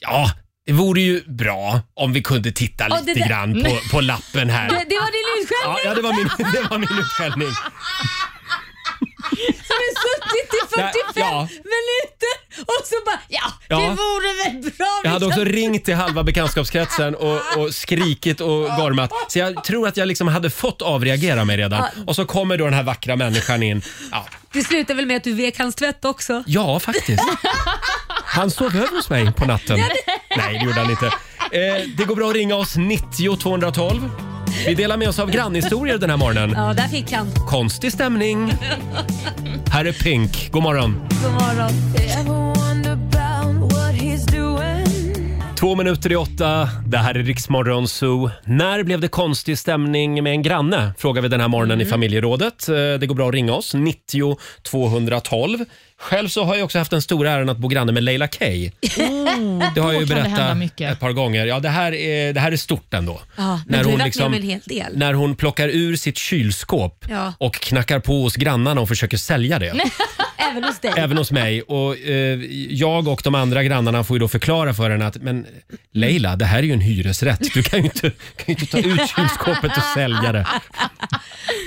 A: Ja, det vore ju bra om vi kunde titta
B: Ja, det
A: lite
B: där-
A: grann på,
B: Nej.
A: på lappen här.
B: Det, det var din
A: Ja,
B: utskällning!
A: ja det, var min, det var min utskällning.
B: Som är suttit i 45
A: Nej, ja.
B: minuter och så bara ja,
A: Ja.
B: det vore väl bra.
A: Jag
B: vi
A: hade
B: kan-
A: också ringt till halva bekantskapskretsen och, och skrikit och gormat. Så jag tror att jag liksom hade fått avreagera mig redan.
B: Ja.
A: Och så kommer då den här vackra människan in. Ja,
B: Det slutar väl med att du vek hans tvätt också?
A: ja faktiskt. Han sov över hos mig på natten. Nej, det gjorde han inte. Eh, det går bra att ringa oss 90 212. Vi delar med oss av grannhistorier den här morgonen.
B: Ja, där fick han.
A: Konstig stämning. Här är Pink. God morgon.
B: God morgon.
A: Två minuter i åtta, det här är Riksmorgon Zoo. När blev det konstig stämning med en granne? Frågar vi den här morgonen i familjerådet. Eh, Det går bra att ringa oss, 90 212. Själv så har jag också haft den stora äran att bo granne med Leila Kay. Det har jag ju
D: kan det hända
A: berättat
D: mycket.
A: ett par gånger. Ja, det här är, det här är stort ändå.
B: Ja, men
A: När
B: du
A: hon
B: har varit
A: liksom-
B: med om en hel del.
A: När hon plockar ur sitt kylskåp
B: Ja.
A: och knackar på hos grannarna och försöker sälja det.
B: Även hos dig.
A: Även hos mig. Och, eh, jag och de andra grannarna får ju då förklara för henne att men Leila, det här är ju en hyresrätt. Du kan ju inte, kan ju inte ta ut kylskåpet och sälja det.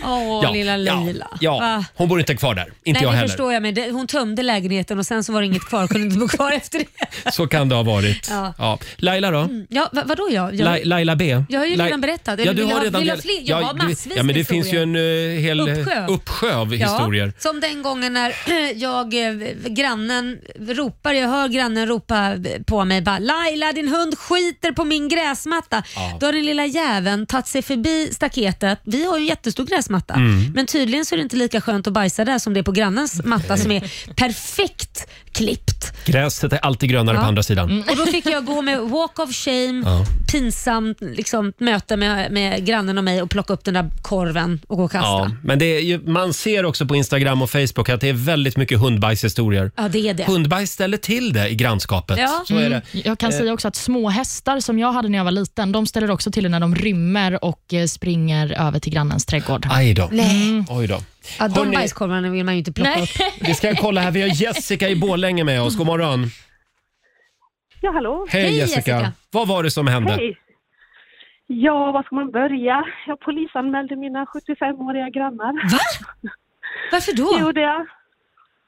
B: Åh, lilla Lila.
A: Ja, ja,
B: Va?
A: hon bor inte kvar där. Inte jag
B: Nej, det
A: heller.
B: förstår jag. Men det, hon tömde lägenheten och sen så var det inget kvar. Kunde inte bo kvar efter det.
A: Så kan det ha varit. Ja.
B: Ja.
A: Laila då?
B: Ja, va, vadå jag? jag
A: Lai- Laila B?
B: Jag har ju
A: Lai-
B: redan berättat.
A: Ja,
B: Eller
A: du
B: vill
A: har
B: ha-
A: redan
B: vill ha
A: del-
B: fler? Jag har
A: du-
B: massvis
A: Ja, men
B: med
A: det finns ju en eh, hel eh,
B: Uppsjö.
A: uppsjö av historier.
B: Ja, som den gången när jag, eh, grannen ropar, jag hör grannen ropa på mig bara “Laila din hund skiter på min gräsmatta”. Då har den lilla jäveln tagit sig förbi staketet. Vi har ju en jättestor gräsmatta
A: Mm.
B: men tydligen så är det inte lika skönt att bajsa där som det är på grannens matta som är perfekt klippt.
A: Gräset är alltid grönare
B: Ja. Mm,
A: på andra sidan.
B: Och Då fick jag gå med walk of shame,
A: Ja.
B: pinsamt liksom, möte med, med grannen och mig och plocka upp den där korven och gå och kasta.
A: Ja,
B: Ja,
A: men det är ju, man ser också på Instagram och Facebook att det är väldigt mycket hundbajshistorier.
B: det är det.
A: Hundbajs ställer till det i grannskapet.
B: Ja.
A: Så är det.
D: Jag
A: Eh.
D: kan säga också att små hästar som jag hade när jag var liten, de ställer också till det när de rymmer och eh, springer över till grannens trädgård.
A: Aj då. Mm.
B: Nej.
A: Oj då.
B: Ja, de
A: Hörni-
B: bajskorvarna vill man ju inte plocka
D: Nej.
B: upp.
A: Vi ska kolla här. Vi har Jessica i Borlänge med oss. God morgon.
G: Ja, hallå?
A: Hej,
B: Hej,
A: Jessica.
B: Jessica.
A: Vad var det som hände?
G: Hej! Ja, var ska man börja? Jag polisanmälde mina 75-åriga grannar.
B: Va? Varför
G: Det
B: då?
G: gjorde jag.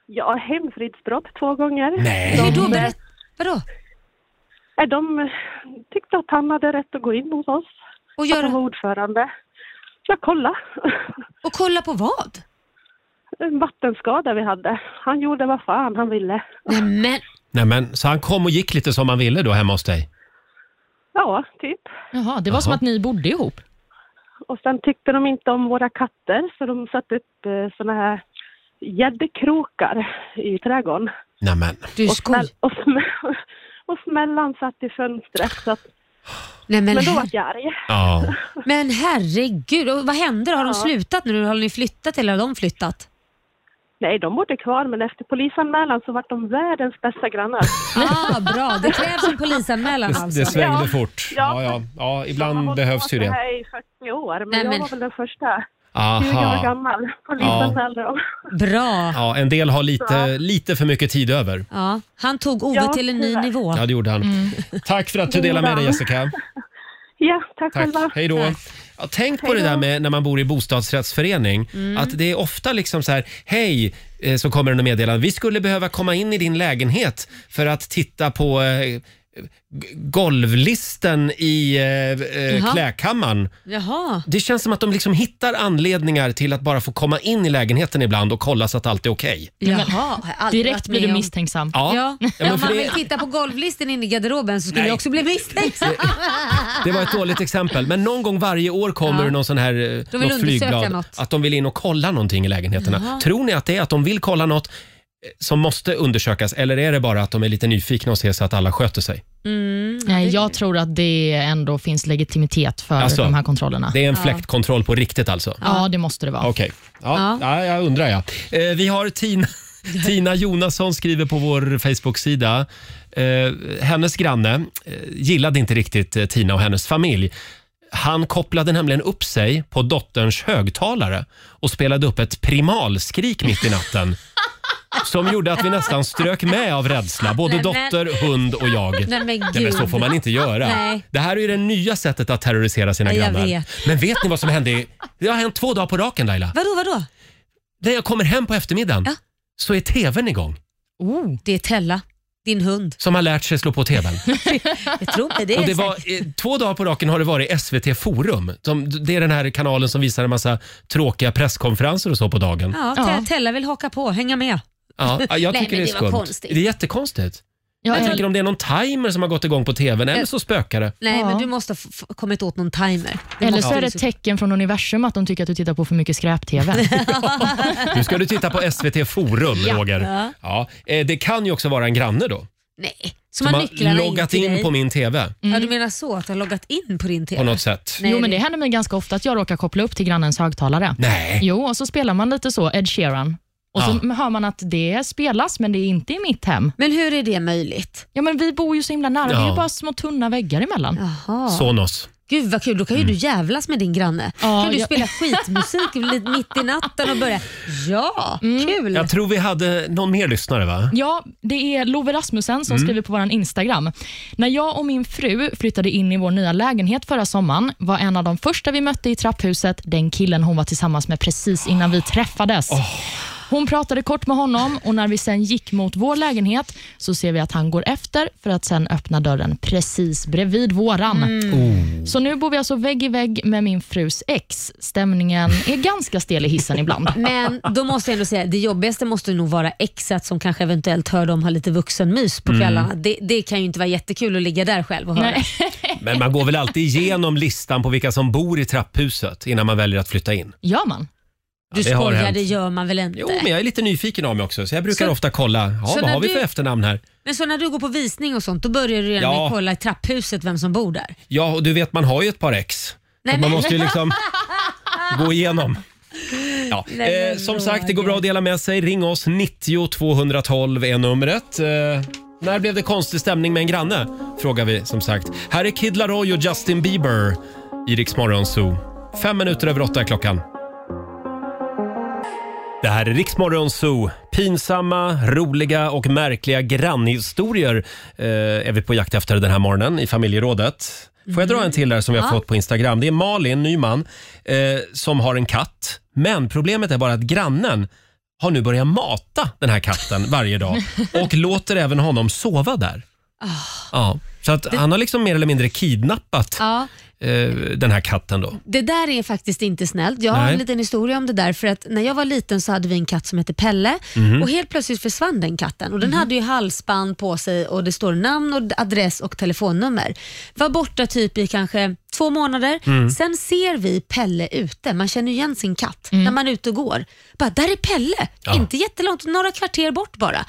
G: Ja, hemfridsbrott två gånger.
A: Nej.
B: Hur då? Berätt, vadå?
G: Eh, De eh, tyckte att han hade rätt att gå in hos oss.
B: Och,
G: Att han var
J: Alltså-
B: göra,
G: ordförande. Jag kolla.
B: och kolla på vad?
G: En vattenskada vi hade. Han gjorde vad fan han ville.
B: Nej, men,
A: Nej, men, så han kom och gick lite som han ville då hemma hos dig?
G: Ja, typ.
D: Jaha, det var som
A: Jaha.
D: att ni bodde ihop.
G: Och sen tyckte de inte om våra katter så de satte upp eh, såna här gäddkrokar i trädgården.
A: Nej, men.
B: du
G: Och, smäll,
B: skoj.
G: och, smäll, och smällan satt i fönstret. Så att,
B: Nej, men,
G: men då var
B: her-
G: jag arg.
A: Ja.
B: men herregud, och vad hände då? Har de
G: Ja.
B: slutat nu? Har ni flyttat eller har de flyttat?
G: Nej, de bodde kvar men efter polisanmälan så var de världens bästa grannar.
B: Ah, bra, det krävs en polisanmälan
A: Det
B: alltså.
A: svängde
G: Ja.
A: fort. Ja,
G: Ja.
A: ja. ja
G: De har
A: ibland
G: hållit
A: behövs
G: på
A: ju
G: så
A: det.
G: här i 40 år men
B: Nej,
G: jag
B: men-
G: var väl den första. 20 år
A: Aha.
G: gammal. Polisanmälde dem.
B: Bra.
A: Ja, en del har lite, lite för mycket tid över.
B: Ja, han tog Ove
G: Ja,
B: till en ny
G: tyvärr.
B: nivå.
A: Ja, det gjorde han. Tack för att du delade med dig, Jessica.
G: Ja, tack,
A: Tack.
G: själva.
A: Hej då. Ja, tänk på det där med när man bor i bostadsrättsförening. Att det är ofta liksom så här, hej, eh, så kommer det något meddelande. Vi skulle behöva komma in i din lägenhet för att titta på eh, g- golvlisten i eh, eh,
B: Jaha.
A: klädkammaren.
B: Jaha.
A: Det känns som att de liksom hittar anledningar till att bara få komma in i lägenheten ibland och kolla så att allt är okej.
B: Jaha. har jag aldrig
D: Direkt
B: varit
D: blir du
B: med om.
D: misstänksam.
A: Ja.
B: Ja,
A: Ja, men
B: om
A: för
B: man
A: det-
B: vill titta på golvlisten inne i garderoben så skulle
A: Nej.
B: jag också bli misstänksam.
A: Det var ett dåligt exempel, men någon gång varje år kommer
B: Ja.
A: det någon sån här eh,
B: De vill
A: något
B: undersöka
A: flygblad
B: något.
A: att de vill in och kolla någonting i lägenheterna. Tror ni att det är att de vill kolla något eh, som måste undersökas eller är det bara att de är lite nyfikna och ser så att alla sköter sig?
D: Nej, jag tror att det ändå finns legitimitet för
A: Alltså,
D: de här kontrollerna.
A: Det är en
D: Ja.
A: fläktkontroll på riktigt alltså?
D: Ja, det måste det vara.
A: Okej. Ja, ja. jag undrar ja. Eh, vi har Tina, Tina Jonasson skriver på vår Facebook-sida. Eh, hennes granne eh, gillade inte riktigt eh, Tina och hennes familj. Han kopplade nämligen upp sig på dotterns högtalare och spelade upp ett primalskrik mitt i natten. Som gjorde att vi nästan strök med av rädsla, både
B: Nej, men-
A: dotter, hund och jag.
B: Nej, men
A: Nej, men
B: gud.
A: så får man inte göra.
B: Nej.
A: Det här är ju det nya sättet att terrorisera sina
B: Nej, jag
A: grannar.
B: vet.
A: Men vet ni vad som hände? i- Det har hänt två dagar på raken Laila.
B: Vadå, vadå?
A: När jag kommer hem på eftermiddagen så är tvn igång.
B: Det är Tella, din hund.
A: Som har lärt sig slå på tvn.
B: Jag tror på det.
A: Och det
B: säkert.
A: var, eh, två dagar på raken har det varit SVT Forum. De, det är den här kanalen som visar en massa tråkiga presskonferenser och så på dagen.
B: Ja, Te- Tella vill haka på, hänga med.
A: Ja, ja, jag
B: Ah. Nej,
A: tycker
B: men
A: det är
B: var
A: skumt.
B: konstigt.
A: Det är jättekonstigt.
B: Ja,
A: jag
B: eller-
A: tänker om det är någon timer som har gått igång på tvn eller
B: Eh,
A: så spökar det.
B: Nej, men du måste ha f- f- kommit åt någon timer. Du
D: Eller
B: måste liksom-
D: så är det ett tecken från universum att de tycker att du tittar på för mycket skräp-tv.
A: Nu ska du titta på SVT Forum,
D: Ja.
A: Roger.
D: Ja.
A: Ja, eh, det kan ju också vara en granne då.
B: Nej, som har nycklarna
A: loggat
B: in,
A: in,
B: till dig. Mm.
A: på min TV
B: Ja, du menar så, att du har loggat in på din TV?
A: på något sätt.
D: jo, men det händer mig ganska ofta att jag råkar koppla upp till grannens högtalare.
A: Nej.
D: Jo, och så spelar man lite så, Ed Sheeran. Och så
A: Ja.
D: hör man att det spelas, men det är inte i mitt hem.
B: Men hur är det möjligt?
D: Ja, men vi bor ju så himla nära. Det är
A: Ja.
D: ju bara små tunna väggar emellan.
B: Jaha.
A: Sonos.
B: Gud vad kul, då kan
A: Mm.
B: ju du jävlas med din granne.
D: Ja,
B: kan du
D: jag-
B: spela skitmusik li- mitt i natten och börja, ja, kul.
A: Jag tror vi hade någon mer lyssnare va?
D: Ja, det är Love Rasmussen som
A: Mm.
D: skriver på vår Instagram. När jag och min fru flyttade in i vår nya lägenhet förra sommaren var en av de första vi mötte i trapphuset den killen hon var tillsammans med precis innan vi träffades. Hon pratade kort med honom och när vi sen gick mot vår lägenhet så ser vi att han går efter för att sen öppna dörren precis bredvid våran. Så nu bor vi alltså vägg i vägg med min frus ex. Stämningen är ganska stel i hissen ibland.
B: Men då måste jag ändå säga, det jobbigaste måste nog vara exet som kanske eventuellt hör dem ha lite vuxenmys på
A: Mm.
B: kvällarna. Det, det kan ju inte vara jättekul att ligga där själv och höra.
A: Men man går väl alltid igenom listan på vilka som bor i trapphuset innan man väljer att flytta in.
D: Gör man?
B: Du
A: det har
B: skojar,
A: hänt.
B: det gör man väl inte?
A: Jo, men jag är lite nyfiken av mig också så jag brukar
B: Så-
A: ofta kolla. Ja,
B: så
A: vad
B: när
A: har vi
B: du-
A: för efternamn här?
B: Men så när du går på visning och sånt, då börjar du redan
A: Ja.
B: med att kolla i trapphuset vem som bor där?
A: Ja, och du vet man har ju ett par ex.
B: Nej,
A: man
B: men-
A: måste ju liksom gå igenom. Ja.
B: Nej, men
A: eh, som
B: Roger.
A: sagt, det går bra att dela med sig. Ring oss, 90 212 är numret. Eh, när blev det konstig stämning med en granne? Frågar vi som sagt. Här är Kid Laroi och Justin Bieber i Rix Morgon Zoo. Fem minuter över åtta är klockan. Det här är Riksmorgon Zoo. Pinsamma, roliga och märkliga grannhistorier eh, är vi på jakt efter den här morgonen i familjerådet. Får jag dra en till där som vi har
K: Ja.
B: Mm.
A: fått på Instagram? Det är Malin Nyman eh, som har en katt. Men problemet är bara att grannen har nu börjat mata den här katten varje dag och låter även honom sova där.
B: Ah.
A: Ja, så att han har liksom mer eller mindre kidnappat
B: Ja,
A: eh, den här katten då.
B: det där är faktiskt inte snällt. Jag har
A: Nej.
B: en liten historia om det där. För att när jag var liten så hade vi en katt som hette Pelle
A: Mhm.
B: och helt plötsligt försvann den katten. Och Den
L: Mhm.
B: hade ju halsband på sig och det står namn, och adress och telefonnummer. Var borta typ i kanske två månader.
L: Mm.
B: Sen ser vi Pelle ute. Man känner igen sin katt
L: Mm.
B: när man är ute och går. Bara, där är Pelle!
L: Ja. Mm.
B: Inte jättelångt, några kvarter bort bara.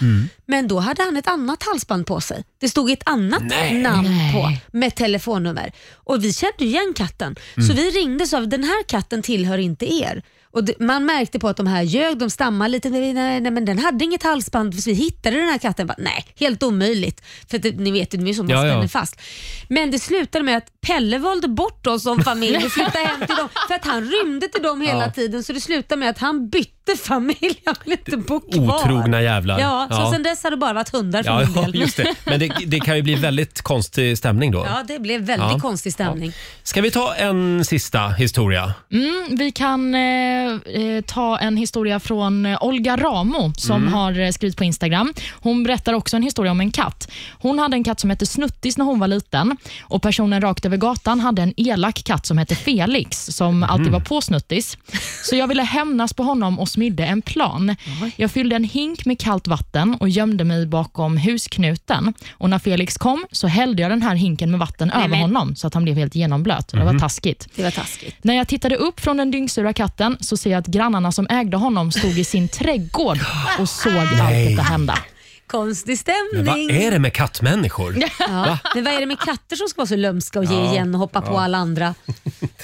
B: Men då hade han ett annat halsband på sig. Det stod ett annat
L: Nej.
B: namn på
L: Nej.
B: med telefonnummer. Och vi kände ju igen katten. Så
L: Mm.
B: vi ringde och sa den här katten tillhör inte er. Och det, man märkte på att de här ljög, de stammade lite. Nej, nej, nej, men den hade inget halsband så vi hittade den här katten. Bara, nej, helt omöjligt. För att, det- ni vet ju, det är ju så man
L: Ja, ja.
B: spänner fast. Men det slutade med att Pelle valde bort oss som familj och flyttade hem till dem. För att han rymde till dem hela
A: Ja.
B: tiden så det slutade med att han bytte familj. Han ville inte bo kvar.
A: Otrogna jävlar.
B: Ja, så
A: Ja.
B: sen dess har det bara varit hundar för
A: Ja,
B: min
A: ja,
B: del.
A: just det. Men det, det kan ju bli väldigt konstig stämning då.
B: Ja, det blev väldigt
A: Ja.
B: konstig stämning.
A: Ska vi ta en sista historia?
D: Mm, vi kan eh, eh, ta en historia från eh, Olga Ramo som
A: Mm.
D: har eh, skrivit på Instagram. Hon berättar också en historia om en katt. Hon hade en katt som hette Snuttis när hon var liten och personen rakt över gatan hade
B: Mhm.
D: en elak katt som hette Felix som alltid var på Snuttis. Så jag ville hämnas på honom och smidde en plan. Jag fyllde en hink med kallt vatten och gömde mig bakom husknuten. Och när Felix kom så hällde jag den här hinken med vatten över
B: men-
D: honom så att han blev helt genomblöt. Det
B: Mhm.
D: var taskigt.
B: Det var taskigt.
D: När jag tittade upp från den dyngsura katten så ser jag att grannarna som ägde honom stod i sin trädgård och såg
A: Nej.
D: allt detta hända.
B: Konstig stämning.
A: Men vad är det med kattmänniskor?
B: Ja.
A: Va?
B: Men vad är det med katter som ska vara så lömska och ge
A: Ja.
B: igen och hoppa
A: Ja.
B: på alla andra?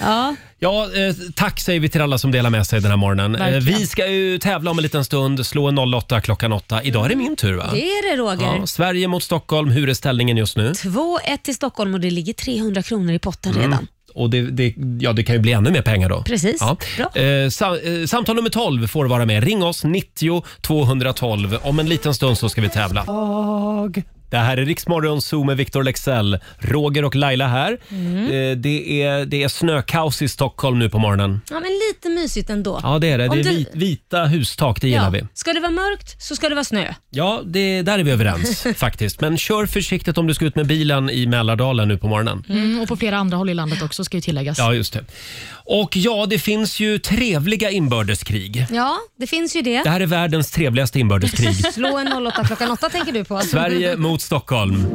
B: Ja.
A: Ja, eh, tack säger vi till alla som delar med sig den här morgonen. Eh,
B: Verkligen.
A: vi ska ju tävla om en liten stund, slå en 08 klockan 8. Idag är det
B: Mm.
A: min tur va?
B: Det är det Roger.
A: Ja, Sverige mot Stockholm, hur är ställningen just nu?
B: 2-1 till Stockholm och det ligger 300 kronor i potten
A: Mm.
B: redan.
A: Och det, det, ja, det kan ju bli ännu mer pengar då.
B: Precis.
A: Ja.
B: Bra.
A: Eh, sa, eh, samtal nummer 12 får vara med. Ring oss, 90 212. Om en liten stund så ska vi tävla. Det här är Riksmorgon Zoo med Victor Lexell. Roger och Laila här.
B: Mm.
A: Eh, det, är, det är snökaos i Stockholm nu på morgonen.
B: Ja, men lite mysigt ändå.
A: Ja, det är det.
B: Om
A: Det är
B: du-
A: vit, vita hustak, det gillar
B: Ja.
A: vi.
B: Ska det vara mörkt så ska det vara snö.
A: Ja, det, där är vi överens faktiskt. Men kör försiktigt om du ska ut med bilen i Mälardalen nu på morgonen.
D: Mm, och på flera andra håll i landet också ska ju tilläggas.
A: Ja, just det. Och ja, det finns ju trevliga inbördeskrig.
B: Ja, det finns ju det.
A: Det här är världens trevligaste inbördeskrig.
B: Slå en 08 klockan 8 tänker du på.
A: Sverige mot Stockholm.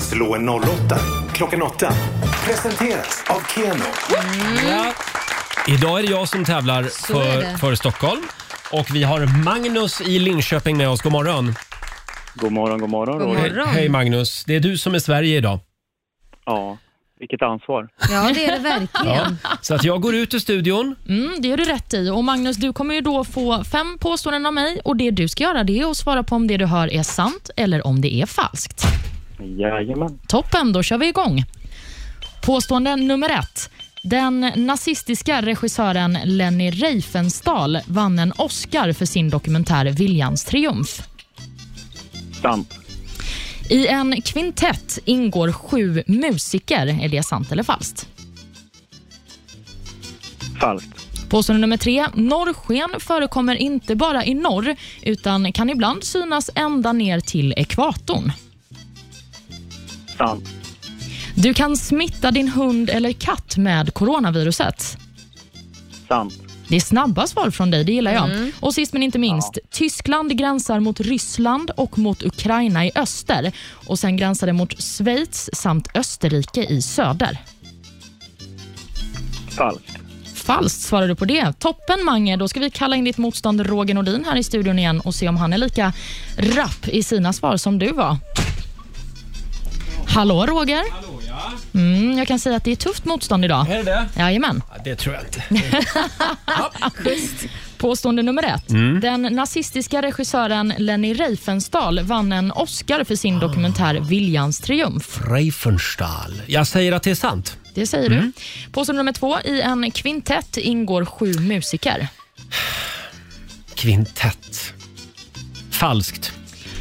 F: Slå en 08 klockan 8. Presenteras av Keno.
A: Ja. Idag är det jag som tävlar
F: är
A: för,
F: det.
A: för Stockholm. Och vi har Magnus i Linköping med oss. God morgon.
K: God morgon, god morgon.
A: God
K: Roger.
A: Hej, hej Magnus. Det är du som är Sverige idag.
K: Ja, vilket ansvar.
D: Ja, det är det verkligen.
A: Ja. Så att jag går ut ur studion.
D: Mm, det gör du rätt i. Och Magnus, du kommer ju då få fem påståenden av mig och det du ska göra det är att svara på om det du hör är sant eller om det är falskt.
K: Jajamän.
D: Toppen, då kör vi igång. Påstående nummer ett. Den nazistiska regissören Lenny Riefenstahl vann en Oscar för sin dokumentär Viljans triumf.
K: Sant.
D: I en kvintett ingår sju musiker. Är det sant eller falskt?
K: Falskt.
D: Påstående nummer tre. Norrsken förekommer inte bara i norr utan kan ibland synas ända ner till ekvatorn.
K: Sant.
D: Du kan smitta din hund eller katt med coronaviruset.
K: Sant.
D: Det är snabba svar från dig, det gillar jag.
K: Mm.
D: Och sist men inte minst, Tyskland gränsar mot Ryssland och mot Ukraina i öster. Och sen gränsar det mot Schweiz samt Österrike i söder.
K: Falskt.
D: Falskt svarar du på det. Toppen Mange, då ska vi kalla in ditt motstånd Roger Nordin här i studion igen och se om han är lika rapp i sina svar som du var. Hallå Roger? Hallå, ja. mm, jag kan säga att det är tufft motstånd idag.
A: Är det det?
D: Jajamän.
A: Ja, Det tror jag inte.
D: Påstående nummer ett.
A: Mm.
D: Den nazistiska regissören Lenny Riefenstahl vann en Oscar för sin dokumentär
A: Ah.
D: Viljans triumf.
A: Reifenstahl. Jag säger att det är sant.
D: Det säger
A: Mm.
D: du. Påstående nummer två. I en kvintett ingår sju musiker.
A: Kvintett. Falskt.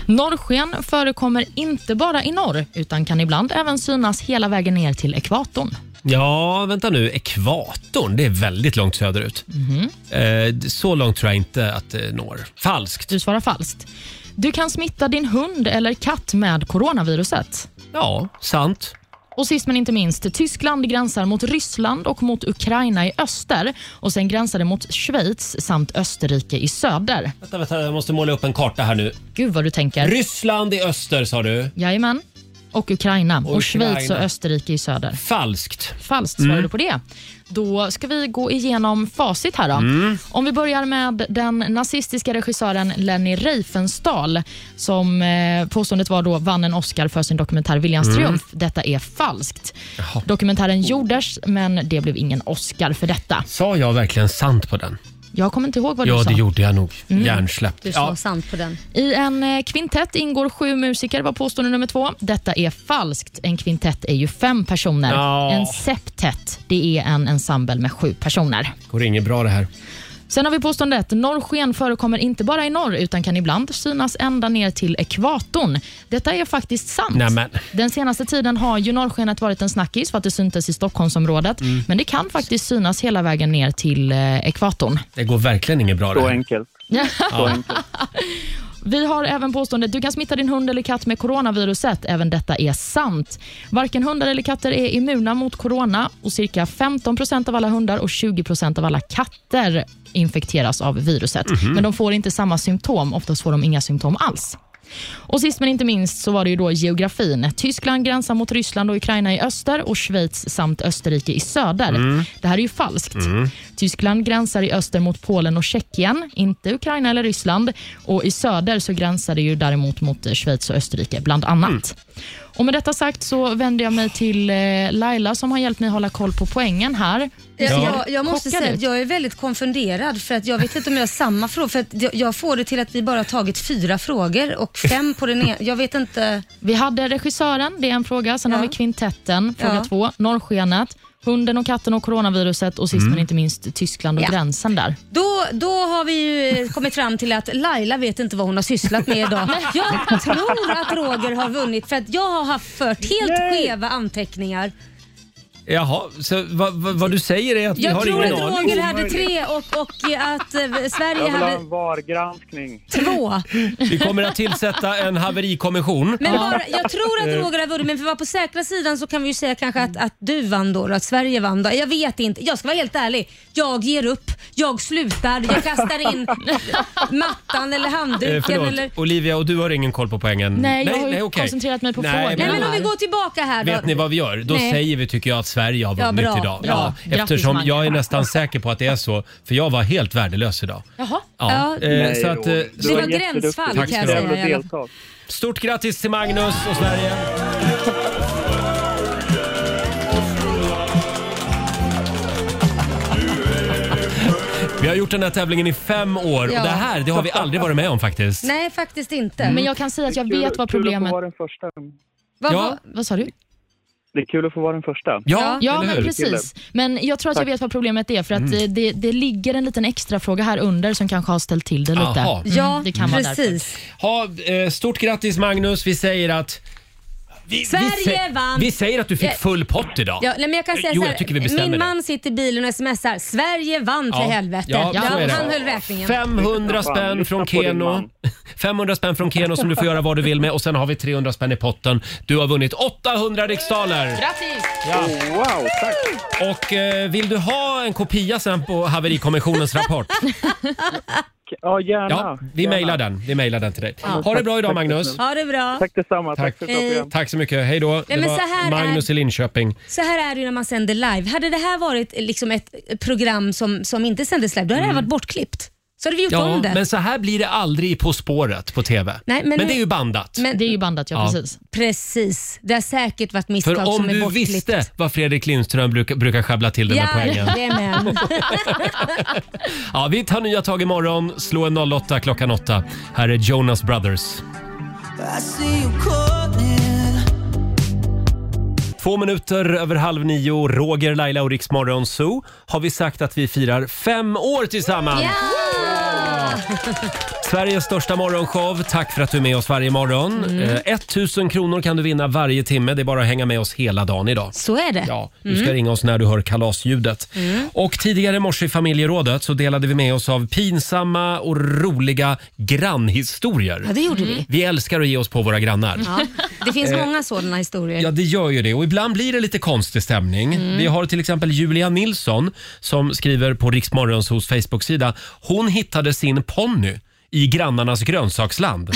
D: Norrsken förekommer inte bara i norr utan kan ibland även synas hela vägen ner till ekvatorn.
A: Ja, vänta nu. Ekvatorn, det är väldigt långt söderut.
D: Mhm.
A: Eh, så långt tror jag inte att det når. Falskt.
D: Du svarar falskt. Du kan smitta din hund eller katt med coronaviruset.
A: Ja, sant.
D: Och sist men inte minst, Tyskland gränsar mot Ryssland och mot Ukraina i öster och sen gränsar det mot Schweiz samt Österrike i söder.
A: Vänta, vänta, jag måste måla upp en karta här nu.
D: Gud vad du tänker.
A: Ryssland i öster sa du.
D: Jajamän. Och Ukraina. Och,
A: Ukraina.
D: Schweiz och Österrike i söder.
A: Falskt.
D: Falskt svarade
A: Mm.
D: du på det. Då ska vi gå igenom facit här då.
A: Mm.
D: Om vi börjar med den nazistiska regissören Lenny Riefenstahl som eh, påståendet var då vann en Oscar för sin dokumentär Viljans
L: Mm.
D: triumf. Detta är falskt. Dokumentären gjordes, men det blev ingen Oscar för detta.
A: Sa jag verkligen sant på den?
D: Jag kommer inte ihåg vad du
A: Ja,
D: sa.
A: det gjorde jag nog.
D: Mm.
A: Hjärnsläpp. Ja.
B: sant på den.
D: I en eh, kvintett ingår sju musiker, var påstående nummer två. Detta är falskt. En kvintett är ju fem personer.
A: Ja.
D: En septett, det är en ensemble med sju personer.
A: Går inget bra det här.
D: Sen har vi påståendet norrsken förekommer inte bara i norr utan kan ibland synas ända ner till ekvatorn. Detta är faktiskt sant.
A: Nämen.
D: Den senaste tiden har ju norrskenet varit en snackis för att det syntes i Stockholmsområdet,
A: Mm.
D: men det kan faktiskt synas hela vägen ner till eh, ekvatorn.
A: Det går verkligen inget bra det här.
K: enkelt.
D: Ja.
A: Ja.
D: Vi har även påståendet du kan smitta din hund eller katt med coronaviruset. Även detta är sant. Varken hundar eller katter är immuna mot corona och cirka 15 av alla hundar och 20 av alla katter infekteras av viruset.
L: Mhm.
D: Men de får inte samma symptom. Oftast får de inga symptom alls. Och Sist men inte minst så var det ju då geografin. Tyskland gränsar mot Ryssland och Ukraina i öster och Schweiz samt Österrike i söder.
L: Mm.
D: Det här är ju falskt.
L: Mm.
D: Tyskland gränsar i öster mot Polen och Tjeckien, inte Ukraina eller Ryssland. Och I söder så gränsar det ju däremot mot eh, Schweiz och Österrike, bland annat.
L: Mm.
D: Och Med detta sagt så vänder jag mig till eh, Laila som har hjälpt mig hålla koll på poängen här. Du
B: Jag,
D: ser
B: Alltså, jag, jag måste
D: chockad
B: säga
D: ut.
B: att jag är väldigt konfunderad för att jag vet inte om jag har samma fråga. För att jag, jag får det till att vi bara har tagit fyra frågor och fem på den ena. Jag vet inte.
D: Vi hade regissören, det är en fråga. Sen har vi kvintetten, fråga
B: Ja.
D: två. Norrskenet, hunden och katten och coronaviruset och sist
B: Mm.
D: men inte minst Tyskland och
B: Ja.
D: gränsen där.
B: Då, då har vi ju eh, kommit fram till att Laila vet inte vad hon har sysslat med idag. Jag tror att Roger har vunnit för att jag har haft fört helt skeva anteckningar.
A: Jaha, så vad, vad, vad du säger är att vi
B: Jag
A: har
B: tror
A: ingen
B: att
A: aning?
B: Roger hade tre och, och eh, att eh, Sverige
A: Jag vill ha
B: hade
A: en
K: VAR-granskning.
B: två.
A: Vi kommer att tillsätta en haverikommission. Eh,
B: Men bara, jag tror att Roger har vunnit, men för att vara på säkra sidan så kan vi ju säga kanske att, att du vann då, och att Sverige vann då. Jag vet inte, jag ska vara helt ärlig. Jag ger upp, jag slutar, jag kastar in mattan eller
A: Eh,
B: handduken
A: förlåt,
B: eller...
A: Olivia, och du har ingen koll på poängen?
B: Nej, jag har ju
A: okej.
B: koncentrerat
D: mig på
A: Nej,
B: Nej, men om vi går tillbaka här då.
A: Vet ni vad vi gör? Då
B: Nej.
A: säger vi tycker jag att Sverige har
B: Ja,
A: vunnit
B: bra,
A: idag.
B: bra. Grattis,
A: eftersom
B: Mange.
A: jag är nästan säker på att det är så, för jag var helt värdelös idag.
B: Jaha.
A: Ja, eh,
B: Nej,
A: så att, eh,
B: Roger, du Det var var jätteduktig. gränsfall,
A: Tack
B: kan jag
A: ska du
B: säga
A: ha.
B: i alla fall.
A: Stort grattis till Magnus och Sverige. Vi har gjort den här tävlingen i fem år
B: Ja.
A: och det här det har vi aldrig varit med om faktiskt.
B: Nej, faktiskt inte.
D: Men jag kan säga att jag
K: Mm. Kul-
D: vet vad
K: kul att få
D: problemet...
K: vara den första.
D: Vad,
K: Ja.
A: Mm,
D: vad, vad sa du?
K: Det är kul att få vara den första.
D: ja men precis. Men jag tror att jag
K: Tack.
D: vet vad problemet är för att
K: Mm.
D: eh, det, det ligger en liten extra fråga här under som kanske har ställt till det lite.
A: Jaha.
D: Mm, det kan vara därför.
A: Ha, eh, stort grattis Magnus. Vi säger att... Vi, vi,
B: Sverige
A: sä-
B: vann.
A: vi säger att du fick
B: Jag-
A: full pott idag.
B: Ja, nej, men jag kan säga
A: Eh, jo,
B: så
A: jag tycker vi
B: här,
A: bestämmer
B: min
A: det.
B: man sitter i bilen och smsar “Sverige vann till helvete”.
A: Ja, så är det.
B: han höll räkningen.
A: 500
K: Lyssna på
A: spänn
K: han,
A: från
K: lyssna på din
A: Keno.
K: man.
A: 500 spänn från Keno som du får göra vad du vill med och sen har vi 300 spänn i potten. Du har vunnit 800 riksdaler.
D: Grattis!
K: Oh, Wow, tack!
A: Och eh, vill du ha en kopia sen på haverikommissionens rapport?
K: Ja, gärna.
A: Ja, vi
K: gärna.
A: mailar den. Vi mailar den till dig. Ha det bra idag Magnus.
B: Ha det bra.
K: Tack detsamma. Tack för ett bra
B: Hej.
K: program.
A: Tack så mycket. Hej då. Det
B: men så
A: var
B: här
A: Magnus
B: är-
A: i Linköping.
B: Så här är det ju när man sänder live. Hade det här varit liksom ett program som, som inte sändes live, då hade det här varit bortklippt. Så hade vi gjort
A: Mm. Ja,
B: om det.
A: men så här blir det aldrig i På spåret på TV.
B: Nej, men
A: men
B: nu-
A: det är ju bandat.
B: Men-
D: Det är ju bandat, ja,
A: Ja.
D: precis.
B: Precis. Det har säkert varit misstag
A: För om
B: som är
A: du
B: bortklippt.
A: visste vad Fredrik Lindström brukar, brukar sjabbla till den här poängen.
B: Jajamän.
A: Ja, vi tar nya tag imorgon. Slå en 08 klockan 8. Här är Jonas Brothers.
H: I see you calling.
A: Två minuter över halv nio, Roger, Laila och Riks Morgon Zoo har vi sagt att vi firar fem år tillsammans. Sveriges största morgonshow. Tack för att du är med oss varje morgon.
B: Mm.
A: Eh, 1000 kronor kan du vinna varje timme. Det är bara att hänga med oss hela dagen idag.
B: Så är det.
A: Ja, du
B: Mm.
A: ska ringa oss när du hör kalasljudet. Och tidigare i morse i familjerådet så delade vi med oss av pinsamma och roliga grannhistorier.
B: Ja, det gjorde vi.
A: Vi älskar att ge oss på våra grannar.
B: Ja, det finns
A: Mm. Eh,
B: många sådana historier.
A: Ja, det gör ju det. Och ibland blir det lite konstig stämning.
B: Mm.
A: Vi har till exempel Julia Nilsson som skriver på Riksmorgons hos Facebook-sida. Hon hittade sin ponny i grannarnas grönsaksland.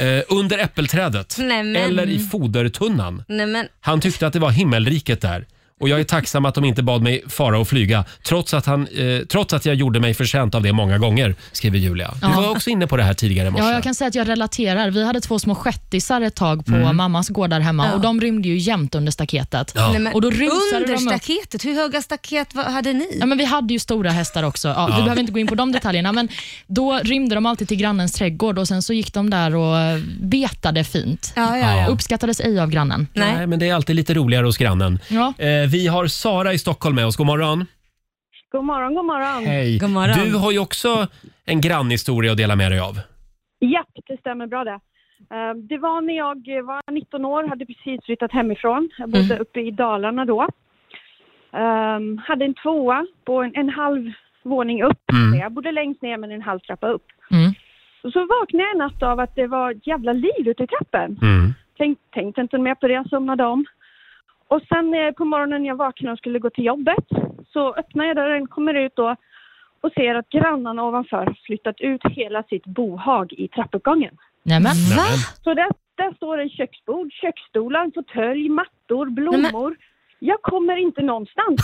A: eh, under äppelträdet.
B: Nämen.
A: Eller i fodertunnan.
B: Nej, men,
A: Han tyckte att det var himmelriket där. Och jag är tacksam att de inte bad mig fara och flyga trots att, han, eh, trots att jag gjorde mig förtjänt av det många gånger, skriver Julia. Du
D: Ja.
A: var också inne på det här tidigare i morse.
D: Ja, jag kan säga att jag relaterar. Vi hade två små shettisar ett tag på
A: Mm.
D: mammas gård där hemma
B: Ja.
D: och de rymde ju jämt under staketet.
A: Ja.
B: nej, men,
D: Och då rusade
B: under
D: de upp.
B: staketet, hur höga staket var- hade ni?
D: Ja, men vi hade ju stora hästar också. Ja,
B: Ja.
D: Vi behöver inte gå in på de detaljerna, men då rymde de alltid till grannens trädgård och sen så gick de där och eh, betade fint.
B: Ja, ja, ja.
D: Uppskattades ej av grannen.
A: Nej. men det är alltid lite roligare hos grannen.
D: Ja.
A: Eh, vi har Sara i Stockholm med oss. God morgon.
M: God morgon, god morgon.
A: Hej. Du har ju också en grannhistoria att dela med dig av.
M: Japp, det stämmer bra det. Eh, Det var när jag var 19 år, hade precis flyttat hemifrån. Jag bodde uppe i Dalarna då. Ehm, hade en tvåa på en, en halv våning upp.
L: Mm.
M: Jag bodde längst ner men en halv trappa upp. Och så vaknade jag en natt av att det var ett jävla liv ute i trappen.
A: Mm.
M: Tänk, tänkte inte mer på det, jag somnade om. Och sen eh, på morgonen när jag vaknade och skulle gå till jobbet så öppnar jag dörren, kommer ut då och ser att grannarna ovanför har flyttat ut hela sitt bohag i trappuppgången.
D: Nämen.
M: Va? Så där, där står en köksbord, köksstolar, en fåtölj, mattor, blommor. Jag kommer inte någonstans.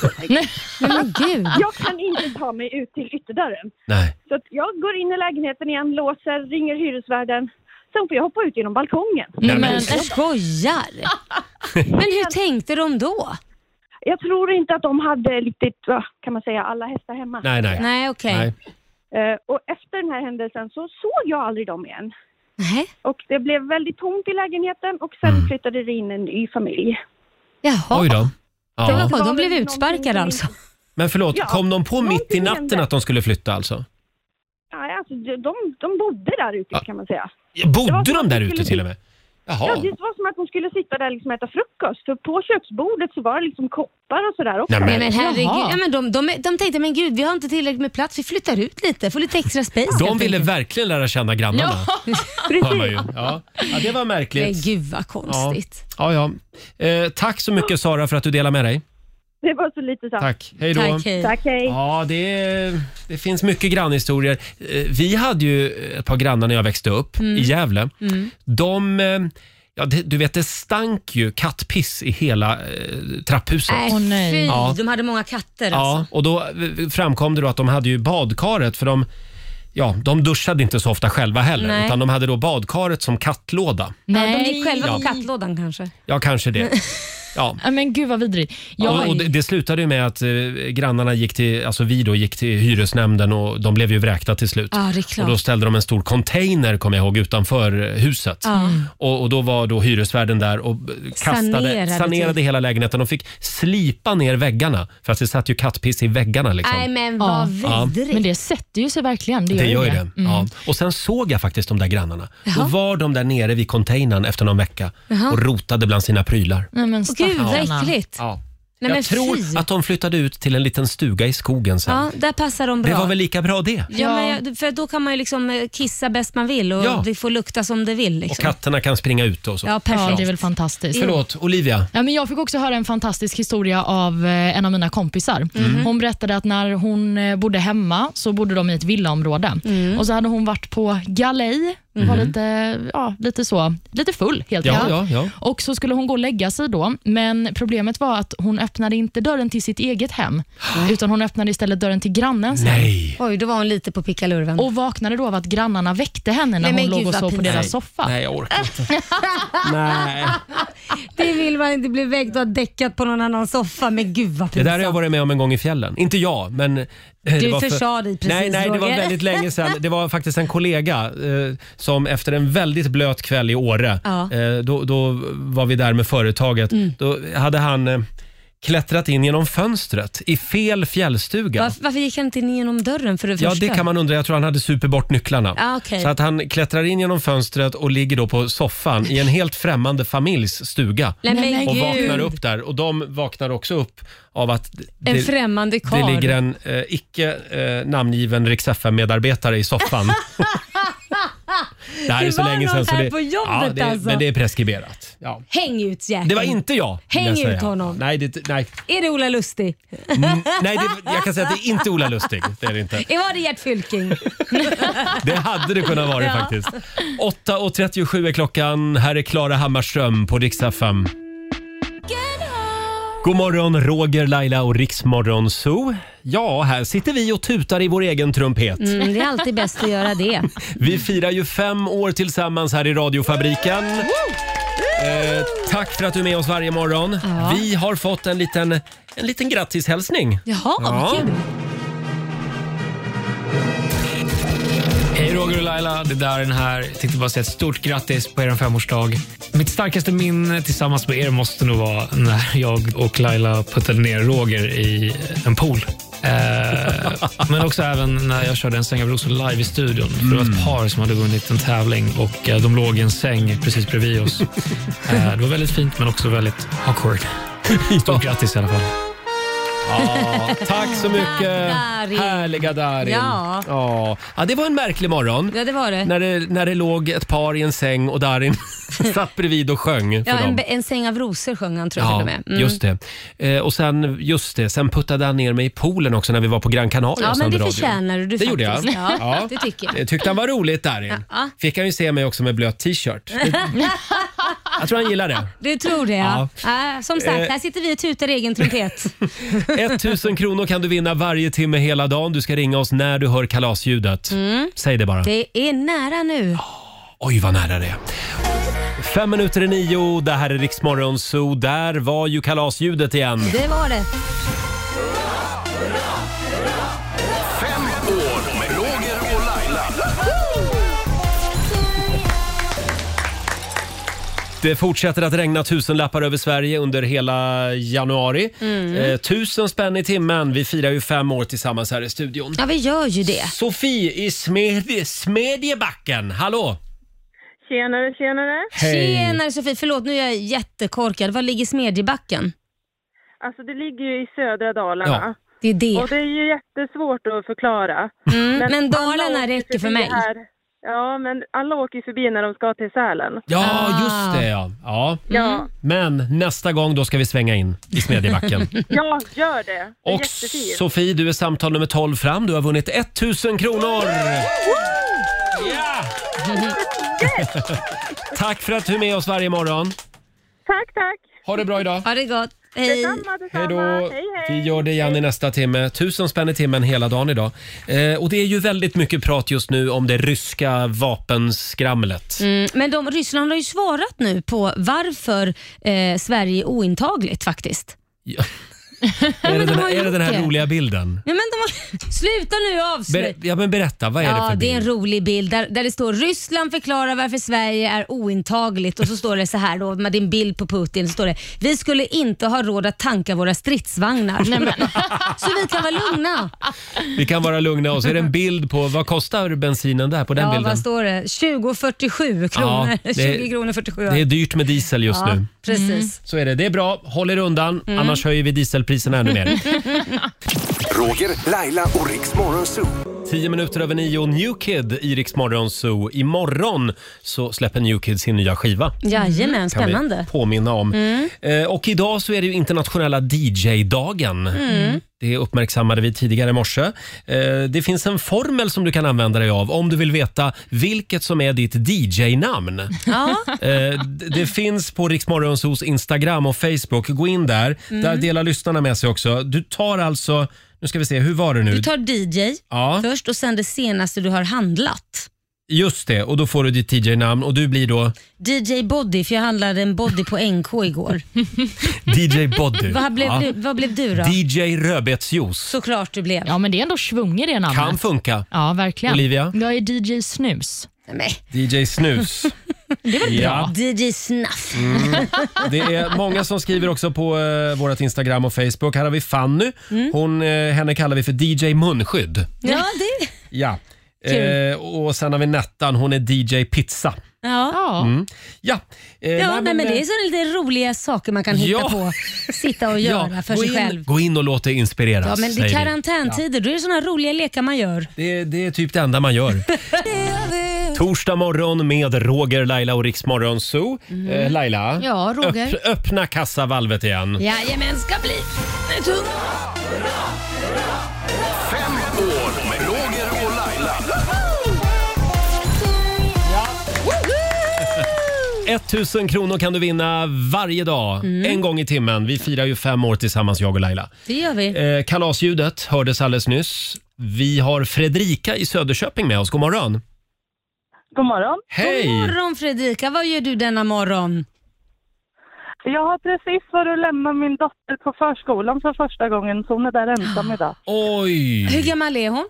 B: men gud.
M: Jag kan inte ta mig ut till ytterdörren.
A: Nej.
M: Så att jag går in i lägenheten igen, låser, ringer hyresvärden. Sen får jag hoppa ut genom balkongen.
B: Nej, men jag skojar! Men hur tänkte de då?
M: Jag tror inte att de hade riktigt, vad kan man säga, alla hästar hemma.
B: Nej, nej. Nej, okej. Nej.
M: Eh, Och efter den här händelsen så såg jag aldrig dem igen.
B: Nej.
M: Och det blev väldigt tomt i lägenheten och sen flyttade det in en ny familj.
B: Jaha.
A: Oj då.
B: Det var
A: Ja.
B: på, de blev utsparkade alltså?
A: Men förlåt,
M: Ja,
A: kom de på mitt i
M: någonting
A: natten
M: hände.
A: att de skulle flytta alltså?
M: Nej, alltså, de, de- de bodde där ute kan man säga.
A: Ja,
M: Det var
A: Bodde
M: som
A: de
M: att
A: där
M: vi
A: ute
M: skulle
A: till och med?
M: Ja,
A: Jaha.
M: det var som att de skulle sitta där liksom och äta frukost. För på köksbordet så var det liksom koppar och sådär också.
B: Nej, men, herregud.
M: Jaha.
B: Ja, men de, de, de tänkte, men gud, vi har inte tillräckligt med plats, vi flyttar ut lite, får lite extra space.
A: De
B: helt
A: ville
B: enkelt.
A: verkligen lära känna grannarna. Hör man ju. Ja. ja, det var märkligt.
B: Men gud vad konstigt.
A: Ja, ja. ja. Eh, tack så mycket Sara för att du delar med dig.
M: Det var så lite så.
A: Tack. Hej då.
M: Tack, hej. Tack, hej.
A: Ja, det, det finns mycket grannhistorier. Eh, Vi hade ju ett par grannar när jag växte upp
L: Mm.
A: i Gävle.
L: Mm.
A: De, eh, ja, det, du vet, det stank ju kattpiss i hela eh, trapphuset.
B: Nej, fy,
A: Ja.
B: de hade många katter
A: Ja,
B: alltså.
A: och då eh, framkom det då att de hade ju badkaret för de, ja, de duschade inte så ofta själva heller
B: Nej.
A: utan de hade då badkaret som kattlåda.
B: Ja, de gick själva på
A: Ja.
B: kattlådan kanske.
A: Ja, kanske det. Ja.
D: Ja, Men gud vad vidrigt. Jag,
A: Och, och det, det slutade ju med att eh, grannarna gick till, alltså vi då gick till hyresnämnden och de blev ju vräkta till slut.
D: Ja, det är klart.
A: Och då ställde de en stor container, kommer jag ihåg, utanför eh, huset.
B: Mm.
D: Ja.
A: Och, och då var då hyresvärden där och b- kastade,
B: Sanerade
A: sanerade,
B: typ.
A: hela lägenheten. De fick slipa ner väggarna för att det satt ju kattpiss i väggarna liksom.
B: Nej men vad
A: Ja.
B: vidrigt.
D: Men det sätter ju sig verkligen. Det gör,
A: Det gör
D: ju
A: ju det. Ja. Och sen såg jag faktiskt de där grannarna. Då
D: Jaha.
A: var de där nere vid containern efter någon vecka
D: Jaha.
A: och rotade bland sina prylar.
D: Nej, men
B: Åh, gud vad
A: stackarna.
B: äckligt.
A: Ja.
B: Nej, men
A: jag tror
B: fy.
A: att de flyttade ut till en liten stuga i skogen sen.
B: Ja, där passar de bra.
A: det var väl lika bra det?
B: Ja, men jag, för då kan man ju liksom eh, kissa bäst man vill och
A: Ja.
B: det får lukta som det vill.
A: Och
B: Liksom.
A: katterna kan springa ut och så.
B: Ja, perfekt.
D: Ja, det är väl fantastiskt.
A: Förlåt, Olivia.
D: Ja, men jag fick också höra en fantastisk historia av eh, en av mina kompisar. Hon berättade att när hon eh, bodde hemma så bodde de i ett villaområde. Och så hade hon varit på galej, Hon var
N: Mhm.
D: lite, ja, lite, så, lite full helt
N: Ja,
D: enkelt.
N: ja, ja.
D: Och så skulle hon gå och lägga sig då, men problemet var att hon öppnade inte dörren till sitt eget hem, utan hon öppnade istället dörren till grannens
A: Nej.
D: hem.
B: Oj, då var hon lite på pickalurven.
D: Och vaknade då av att grannarna väckte henne när
B: Nej, men
D: hon låg
B: gud,
D: och
B: vad
D: sov på
B: pinsamt.
D: deras soffa.
A: Nej, jag orkar inte. Nej.
B: Det vill man inte bli väckt och ha däckat på någon annan soffa. Men gud vad
A: Det där har jag
B: pinsamt.
A: varit med om en gång i fjällen. Inte jag, men... eh,
B: Du
A: för-
B: försade dig precis,
A: Nej, nej, det var
B: Roger.
A: väldigt länge sedan. Det var faktiskt en kollega eh, som efter en väldigt blöt kväll i Åre,
L: Ja.
A: eh, då, då var vi där med företaget.
L: Mm.
A: Då hade han eh, klättrat in genom fönstret i fel fjällstuga.
B: Varför, varför gick han inte in genom dörren för det
A: Ja,
B: första?
A: det kan man undra. Jag tror han hade super bort nycklarna.
B: Ah, okej.
A: Så att han klättrar in genom fönstret och ligger då på soffan i en helt främmande familjs stuga.
B: Nej, men
A: och
B: gud.
A: vaknar upp där. Och de vaknar också upp av att det,
B: En främmande
A: det
B: karl.
A: ligger en eh, icke eh, namngiven Rix medarbetare i soffan. det här är så
B: var
A: länge
B: någon
A: sedan. Så
B: här
A: det,
B: på jobbet
A: ja, det, är-
B: alltså.
A: Men det är preskriberat. Ja.
B: Häng ut jäkeln.
A: Det var inte jag. vill
B: Häng
A: jag säga.
B: ut honom.
A: Nej, det, nej.
B: Är det Ola Lustig?
A: Mm, nej det, jag kan säga att det är inte Ola Lustig. Det är det inte.
B: Var det Gert Fylking?
A: Det hade det kunnat vara
B: Ja.
A: faktiskt. 8.37 är klockan. Här är Klara Hammarström på Rix FM. God morgon, Roger, Laila och Riksmorgon Zoo. Ja, här sitter vi och tutar i vår egen trumpet.
B: Mm, det är alltid bäst att göra det.
A: Vi firar ju fem år tillsammans här i radiofabriken. Eh, tack för att du är med oss varje morgon.
B: Ja.
A: Vi har fått en liten, en liten grattishälsning.
B: Jaha, vad kul.
L: Hej Roger och Laila, det där är den här. Jag tänkte bara säga ett stort grattis på er femårsdag. Mitt starkaste minne tillsammans med er måste nog vara när jag och Laila puttade ner Roger i en pool. Eh, men också även när jag körde en säng av rosor live i studion. För det var ett par som hade vunnit en tävling och eh, de låg i en säng precis bredvid oss. Eh, det var väldigt fint men också väldigt awkward. Stort grattis i alla fall.
A: Ja, tack så mycket.
B: Darin.
A: Härliga Darin.
B: Ja.
A: Ja. ja, det var en märklig morgon.
B: Ja, det var det.
A: När det, när det låg ett par i en säng och Darin satt bredvid och sjöng för
B: Ja,
A: dem.
B: en, en säng av rosor sjöng han tror jag till och med. Mm.
A: just det. Eh, och sen, just det, sen puttade han ner mig i poolen också när vi var på Gran Canaria.
B: Ja,
A: och
B: men
A: sände
B: det
A: radio.
B: förtjänar du
A: Det gjorde jag.
B: faktiskt. Ja,
A: Ja.
B: Det tycker
A: Det
B: jag.
A: tyckte han var roligt Darin.
B: Ja.
A: Fick han ju se mig också med blöt t-shirt. Jag tror han gillar det.
B: Du tror det ja. Ah, som
A: Eh.
B: sagt, här sitter vi och tutar egen trumpet.
A: 1000 kronor kan du vinna varje timme hela dagen. Du ska ringa oss när du hör kalasljudet.
B: Mm.
A: Säg det bara.
B: Det är nära nu.
A: Oj, vad nära det är. Fem minuter i nio, det här är Riksmorgon Zoo. Där var ju kalasljudet igen.
B: Det var det.
F: År med Roger och Laila.
A: Det fortsätter att regna tusenlappar över Sverige under hela januari.
B: Mm.
A: Eh, tusen spänn i timmen. Vi firar ju fem år tillsammans här i studion.
B: Ja, vi gör ju det.
A: Sofie i Smedje, Smedjebacken, hallå!
N: Tjenare, tjenare.
A: Hej.
B: Tjenare Sofie, förlåt nu är jag jättekorkad. Var ligger Smedjebacken?
N: Alltså det ligger ju i södra Dalarna.
B: Det är det.
N: Och det är ju jättesvårt att förklara.
B: Mm, men
N: alla
B: Dalarna
N: åker
B: räcker för
N: förbi
B: mig.
N: här- Ja, men alla åker ju förbi när de ska till Sälen.
A: Ja, just det ja. ja.
N: Ja.
A: Men nästa gång då ska vi svänga in i Smedjebacken.
N: Ja, gör det. Det är
A: Och
N: jättefint.
A: Sofie, du är samtal nummer 12 fram. Du har vunnit 1000 kronor! Tack för att du är med oss varje morgon.
N: Tack, tack.
A: Ha det bra idag.
B: Ha det gott. Hej.
N: Detsamma,
A: Hej
N: detsamma.
A: då!
N: Hej,
A: Vi gör det igen i nästa timme. Tusen spänn i timmen hela dagen idag. Eh, och det är ju väldigt mycket prat just nu om det ryska vapenskramlet.
B: Mm, men de, Ryssland har ju svarat nu på varför eh, Sverige är ointagligt faktiskt.
A: är, det
B: de
A: den,
B: har
A: här- är det den här
B: gjort det.
A: roliga bilden?
B: Nej, men de har, sluta nu avslöja.
A: Ber, ja, men berätta, vad är det
B: ja,
A: för bild?
B: det är en rolig bild där, där det står Ryssland förklarar varför Sverige är ointagligt och så står det så här då med din bild på Putin. Så står det Vi skulle inte ha råd att tanka våra stridsvagnar. Så vi kan vara lugna.
A: Vi kan vara lugna och så är det en bild på, vad kostar bensinen där på den
B: ja,
A: bilden?
B: vad står det? 20,47 kronor.
A: det är-
B: 20 kronor 47
A: Det är dyrt med diesel just
B: ja,
A: nu.
B: Precis.
A: Så är det. Det är bra. Håll er undan,
B: Mm.
A: annars höjer vi dieselpriserna ännu mer.
F: Roger, Laila och Riks Morgonzoo.
A: Tio minuter över nio, New Kid i Rix Morgon Zoo. Imorgon så släpper New Kid sin nya skiva.
B: Jajamän,
A: Kan
B: spännande.
A: vi påminna om.
B: Mm.
A: Eh, och idag så är det ju internationella DJ-dagen.
B: Mm.
A: Det uppmärksammade vi tidigare i morse. Eh, det finns en formel som du kan använda dig av om du vill veta vilket som är ditt DJ-namn.
B: Ja.
A: Eh, d- det finns på Riksmorgonsos Instagram och Facebook. Gå in där.
B: Mm.
A: Där delar lyssnarna med sig också. Du tar alltså, nu ska vi se, hur var det nu?
B: Du tar DJ
A: Ja.
B: först och sen det senaste du har handlat.
A: Just det, och då får du ditt DJ-namn och du blir då
B: DJ Body, för jag handlade en body på NK igår.
A: DJ Body.
B: vad, blev
A: Ja.
B: du, vad blev du då?
A: DJ Rödbetsjuice.
B: Såklart du blev.
D: Ja, men det är ändå svungen det namnet.
A: Kan funka.
D: Ja, verkligen.
A: Olivia?
D: Jag är DJ Snus.
B: Nej.
A: DJ Snus.
D: Det var
A: Ja.
D: bra.
B: DJ Snuff.
A: Mm. Det är många som skriver också på eh, vårt Instagram och Facebook. Här har vi Fanny.
B: Mm.
A: Hon, eh, henne kallar vi för DJ Munskydd.
B: Ja, det...
A: Ja.
B: Kul.
A: Eh, och sen har vi Nettan. Hon är DJ Pizza.
B: Ja. Ja,
A: Mm. Ja, eh, nej,
B: nej, men det
A: eh,
B: är sådana lite roliga saker man kan hitta
A: Ja.
B: på. Sitta och göra för
A: gå
B: sig
A: in,
B: själv.
A: Gå in och låt dig inspireras.
B: Ja, men det
A: säger
B: är
A: vi.
B: karantäntider, då är det sådana roliga lekar man gör.
A: Det, det är typ det enda man gör. Torsdag morgon med Roger, Laila och Riksmorgon Zoo.
B: Mm.
A: Eh, Laila,
B: Ja, Roger.
A: öpp- öppna kassavalvet igen.
B: Jajamän, ska bli tung.
F: År med Roger och Laila.
A: 1000 kronor kan du vinna varje dag,
B: Mm.
A: en gång i timmen. Vi firar ju fem år tillsammans, jag och Laila.
B: Det gör vi.
A: Eh, kalasljudet hördes alldeles nyss. Vi har Fredrika i Söderköping med oss. God morgon.
N: God morgon.
A: Hej! Mm.
B: God morgon Fredrika, vad gör du denna morgon?
N: Jag har precis varit och lämnat min dotter på förskolan för första gången, så hon är där ensam idag.
A: Oj!
B: Hur gammal är hon?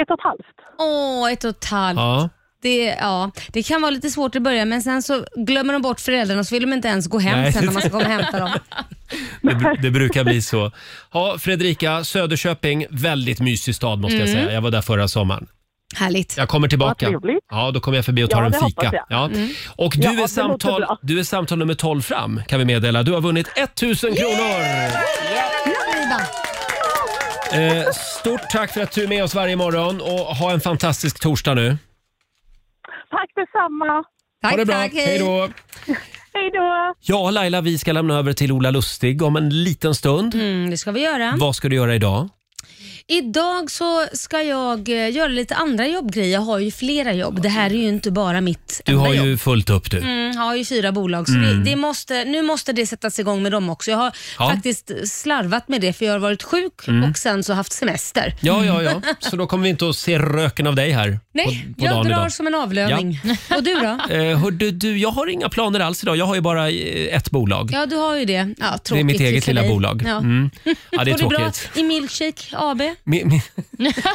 N: Ett och ett halvt.
B: Åh, ett och ett halvt.
A: Ja.
B: Det, ja, det kan vara lite svårt i början men sen så glömmer de bort föräldrarna och så vill de inte ens gå hem
A: Nej.
B: sen när man ska komma och hämta dem.
A: Det, br- det brukar bli så. Ja, Fredrika, Söderköping, väldigt mysig stad måste jag
B: Mm.
A: säga. Jag var där förra sommaren.
B: Härligt.
A: Jag kommer tillbaka.
B: Vad trevligt.
A: Ja, då kommer jag förbi och tar
B: Ja,
A: en
B: det hoppas
A: fika.
B: jag.
A: Ja.
B: Mm.
A: Och
B: Ja,
A: du,
B: det
A: är
B: låter
A: samtal,
B: bra.
A: du är samtal nummer 12 fram kan vi meddela. Du har vunnit 1000 kronor! Eh, stort tack för att du är med oss varje morgon och ha en fantastisk torsdag nu.
N: Tack detsamma.
A: Tack, det bra. tack, hej. Hej då.
N: Hej då.
A: Ja, Laila, vi ska lämna över till Ola Lustig om en liten stund.
B: Mm, det ska vi göra.
A: Vad ska du göra idag?
B: Idag så ska jag eh, göra lite andra jobbgrejer. Jag har ju flera jobb. Det här är ju inte bara mitt
A: Du
B: enda
A: har
B: jobb.
A: ju fullt upp du.
B: Mm, jag har ju fyra bolag, så
A: Mm.
B: det, det måste, nu måste det sättas igång med dem också. Jag har
A: Ja.
B: faktiskt slarvat med det för jag har varit sjuk
A: Mm.
B: och sen så haft semester.
A: Ja, ja, ja. Så då kommer vi inte att se röken av dig här
B: Nej,
A: på, på
B: jag
A: dagen
B: drar
A: idag.
B: som en avlöning. Och du då?
A: Eh, hördu, du, jag har inga planer alls idag. Jag har ju bara eh, ett bolag.
B: Ja, du har ju det. Ja, tråkigt
A: det är mitt
B: ju
A: eget
B: för
A: lilla
B: dig.
A: bolag.
B: Ja.
A: Mm. ja det är
B: Går det bra
A: tråkigt.
B: i Milkshake AB?
A: Mi, mi,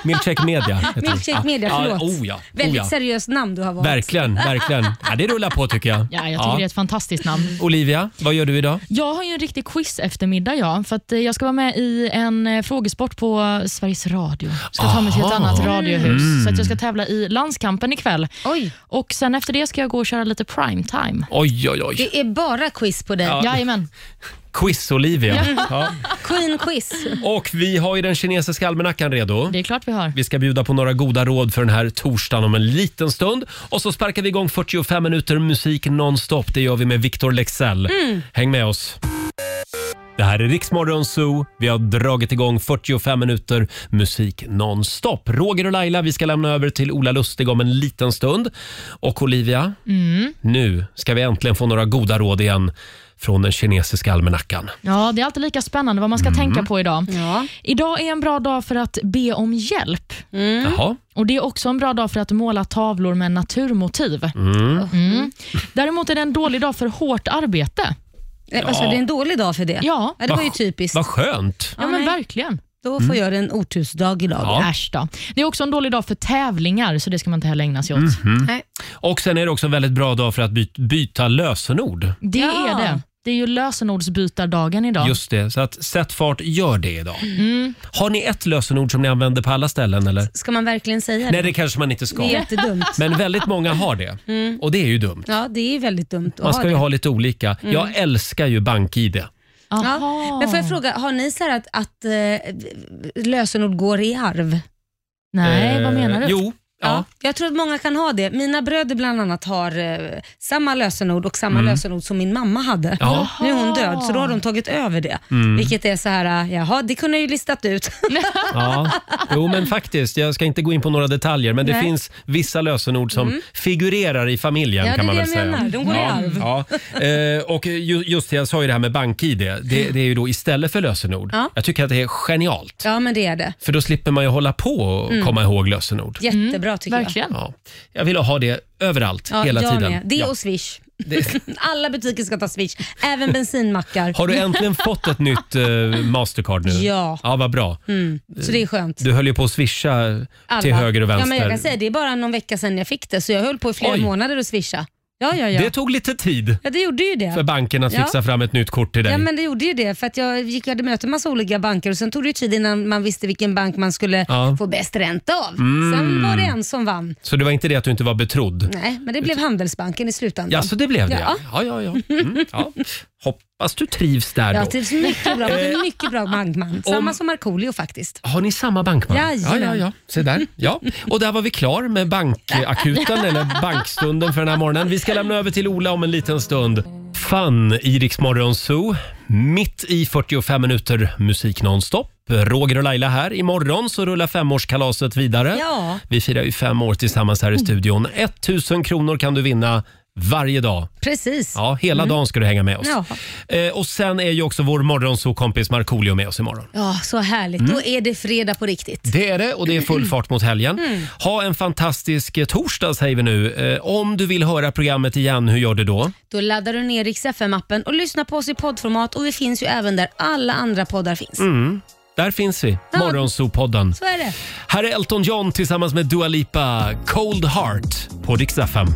A: Milkshake Media heter det.
B: Milkshake Media,
A: ja,
B: förlåt.
A: Oh ja, oh
B: Väldigt
A: ja.
B: seriöst namn du har valt.
A: Verkligen, verkligen. Ja, det rullar på tycker jag.
D: Ja, jag tycker det är ett fantastiskt namn.
A: Olivia, vad gör du idag?
D: Jag har ju en riktig quiz eftermiddag ja, för att eh, jag ska vara med i en eh, frågesport på Sveriges Radio. Ska ta mig till ett
O: Aha.
D: annat radiohus.
O: Mm.
D: Så att jag ska tävla i Landskampen ikväll.
B: Oj.
D: Och sen efter det ska jag gå och köra lite primetime.
A: Oj, oj, oj.
B: Det är bara quiz på dig.
A: Ja.
D: Jajamän.
A: Quiz-Olivia.
B: Ja.
A: Ja.
B: Queen quiz.
A: Och vi har ju den kinesiska almanackan redo.
D: Det är klart vi har.
A: Vi ska bjuda på några goda råd för den här torsdagen om en liten stund. Och så sparkar vi igång 45 minuter musik nonstop. Det gör vi med Victor Lexell.
O: Mm.
A: Häng med oss. Det här är Riksmorgon Zoo. Vi har dragit igång 45 minuter musik nonstop. Roger och Laila, vi ska lämna över till Ola Lustig om en liten stund. Och Olivia,
D: Mm.
A: nu ska vi äntligen få några goda råd igen från den kinesiska almanackan.
D: Ja, det är alltid lika spännande vad man ska tänka på idag. Idag är en bra dag för att be om hjälp.
A: Jaha.
D: Och Det är också en bra dag för att måla tavlor med naturmotiv.
A: Mm.
D: Mm. Däremot är det en dålig dag för hårt arbete.
B: Nej, vad sa du? Eh, alltså, Det är en dålig dag för det?
D: Ja.
B: Ja, det var ju typiskt.
A: Vad skönt.
D: Ja, men verkligen.
B: Då får jag en otursdag idag.
A: Ja.
D: Äsch då. Det är också en dålig dag för tävlingar, så det ska man inte heller ägna sig åt.
A: Mhm. Och sen är det också en väldigt bra dag för att by- byta lösenord.
D: Det är det. Det är ju lösenordsbytardagen idag.
A: Just det, så att sätt fart, gör det idag.
D: Mm.
A: Har ni ett lösenord som ni använder på alla ställen eller?
B: Ska man verkligen säga
A: Nej, det kanske man inte ska.
B: Det är jättedumt.
A: Men väldigt många har det
B: Mm.
A: och det är ju dumt.
B: Ja, det är väldigt dumt att
A: Man ska ju
B: det.
A: ha lite olika.
B: Mm.
A: Jag älskar ju bank-id.
B: Ja. Men får jag fråga, har ni så här att, att eh, lösenord går i arv?
D: Nej,
A: Eh, vad menar du? jo, ja.
B: Jag tror att många kan ha det. Mina bröder bland annat har eh, samma lösenord och samma
A: Mm.
B: lösenord som min mamma hade.
A: Ja.
B: Nu är hon död, så då har de tagit över det.
A: Mm.
B: Vilket är så här, eh, jaha, det kunde jag ju listat ut.
A: Ja. Jo, men faktiskt. Jag ska inte gå in på några detaljer, men det
B: Nej.
A: finns vissa lösenord som
B: Mm.
A: figurerar i familjen
B: Ja, det
A: kan
B: är
A: man
B: det
A: väl
B: jag
A: säga.
B: menar. De går i arv.
A: ja, ja. Eh, Och ju, just det, jag sa ju det här med bank-id. Det, det är ju då istället för lösenord.
B: Mm. Ja.
A: Jag tycker att det är genialt.
B: ja, men det är det.
A: För då slipper man ju hålla på och
B: Mm.
A: komma ihåg lösenord.
B: Jättebra tycker
D: Mm.
B: jag.
A: Ja. Jag vill ha det överallt,
B: Ja,
A: hela
B: jag
A: tiden.
B: Med. Det
A: Ja.
B: och Swish. Alla butiker ska ta Swish, även bensinmackar.
A: Har du äntligen fått ett nytt eh, Mastercard nu?
B: Ja.
A: Ja, vad bra.
B: Mm, så det är skönt.
A: Du höll ju på att swisha till höger och
B: Ja,
A: vänster.
B: men jag kan säga, det är bara någon vecka sedan jag fick det, så jag höll på i flera
A: Oj.
B: månader att swisha. Ja, ja, ja.
A: Det tog lite tid
B: ja, det gjorde ju det.
A: för banken att
B: Ja.
A: fixa fram ett nytt kort till dig.
B: Ja, men det gjorde ju det. För att jag gick och hade möte med massa olika banker och sen tog det ju tid innan man visste vilken bank man skulle
A: Ja.
B: få bäst ränta av.
A: Mm.
B: Sen var det en som vann.
A: Så det var inte det att du inte var betrodd?
B: Nej, men det blev Handelsbanken i slutändan.
A: Ja, så det blev det ja.
B: Ja,
A: Ja, ja, ja. Mm, ja. Hoppas du trivs där
B: jag
A: då.
B: trivs mycket bra. Det är en mycket bra bankman. Samma
A: om-
B: som Markoolio faktiskt.
A: Har ni samma bankman?
B: Jajamän.
A: Ja, ja, ja. Se där. Ja. Och där var vi klar med bankakuten, eller bankstunden för den här morgonen. Vi ska lämna över till Ola om en liten stund. Fan i Rix Morgon Zoo. Mitt i 45 minuter musik nonstop. Roger och Laila här. Imorgon så rullar femårskalaset vidare.
B: Ja.
A: Vi firar ju fem år tillsammans här i studion. 1000 kronor kan du vinna varje dag.
B: Precis.
A: Ja, hela dagen ska du hänga med oss.
B: Ja.
A: Eh, och sen är ju också vår morgonsokompis Markoolio med oss imorgon.
B: Ja, så härligt.
A: Mm.
B: Då är det fredag på riktigt.
A: Det är det och det är full fart mot helgen.
B: Mm.
A: Ha en fantastisk eh, torsdag säger vi nu. Eh, Om du vill höra programmet igen, hur gör du då?
B: Då laddar du ner Rix FM-appen och lyssnar på oss i poddformat och vi finns ju även där alla andra poddar finns.
A: Mm. Där finns vi,
B: Ja.
A: Morgonzoo-podden.
B: Så är det.
A: Här är Elton John tillsammans med Dua Lipa, Cold Heart på Rix FM.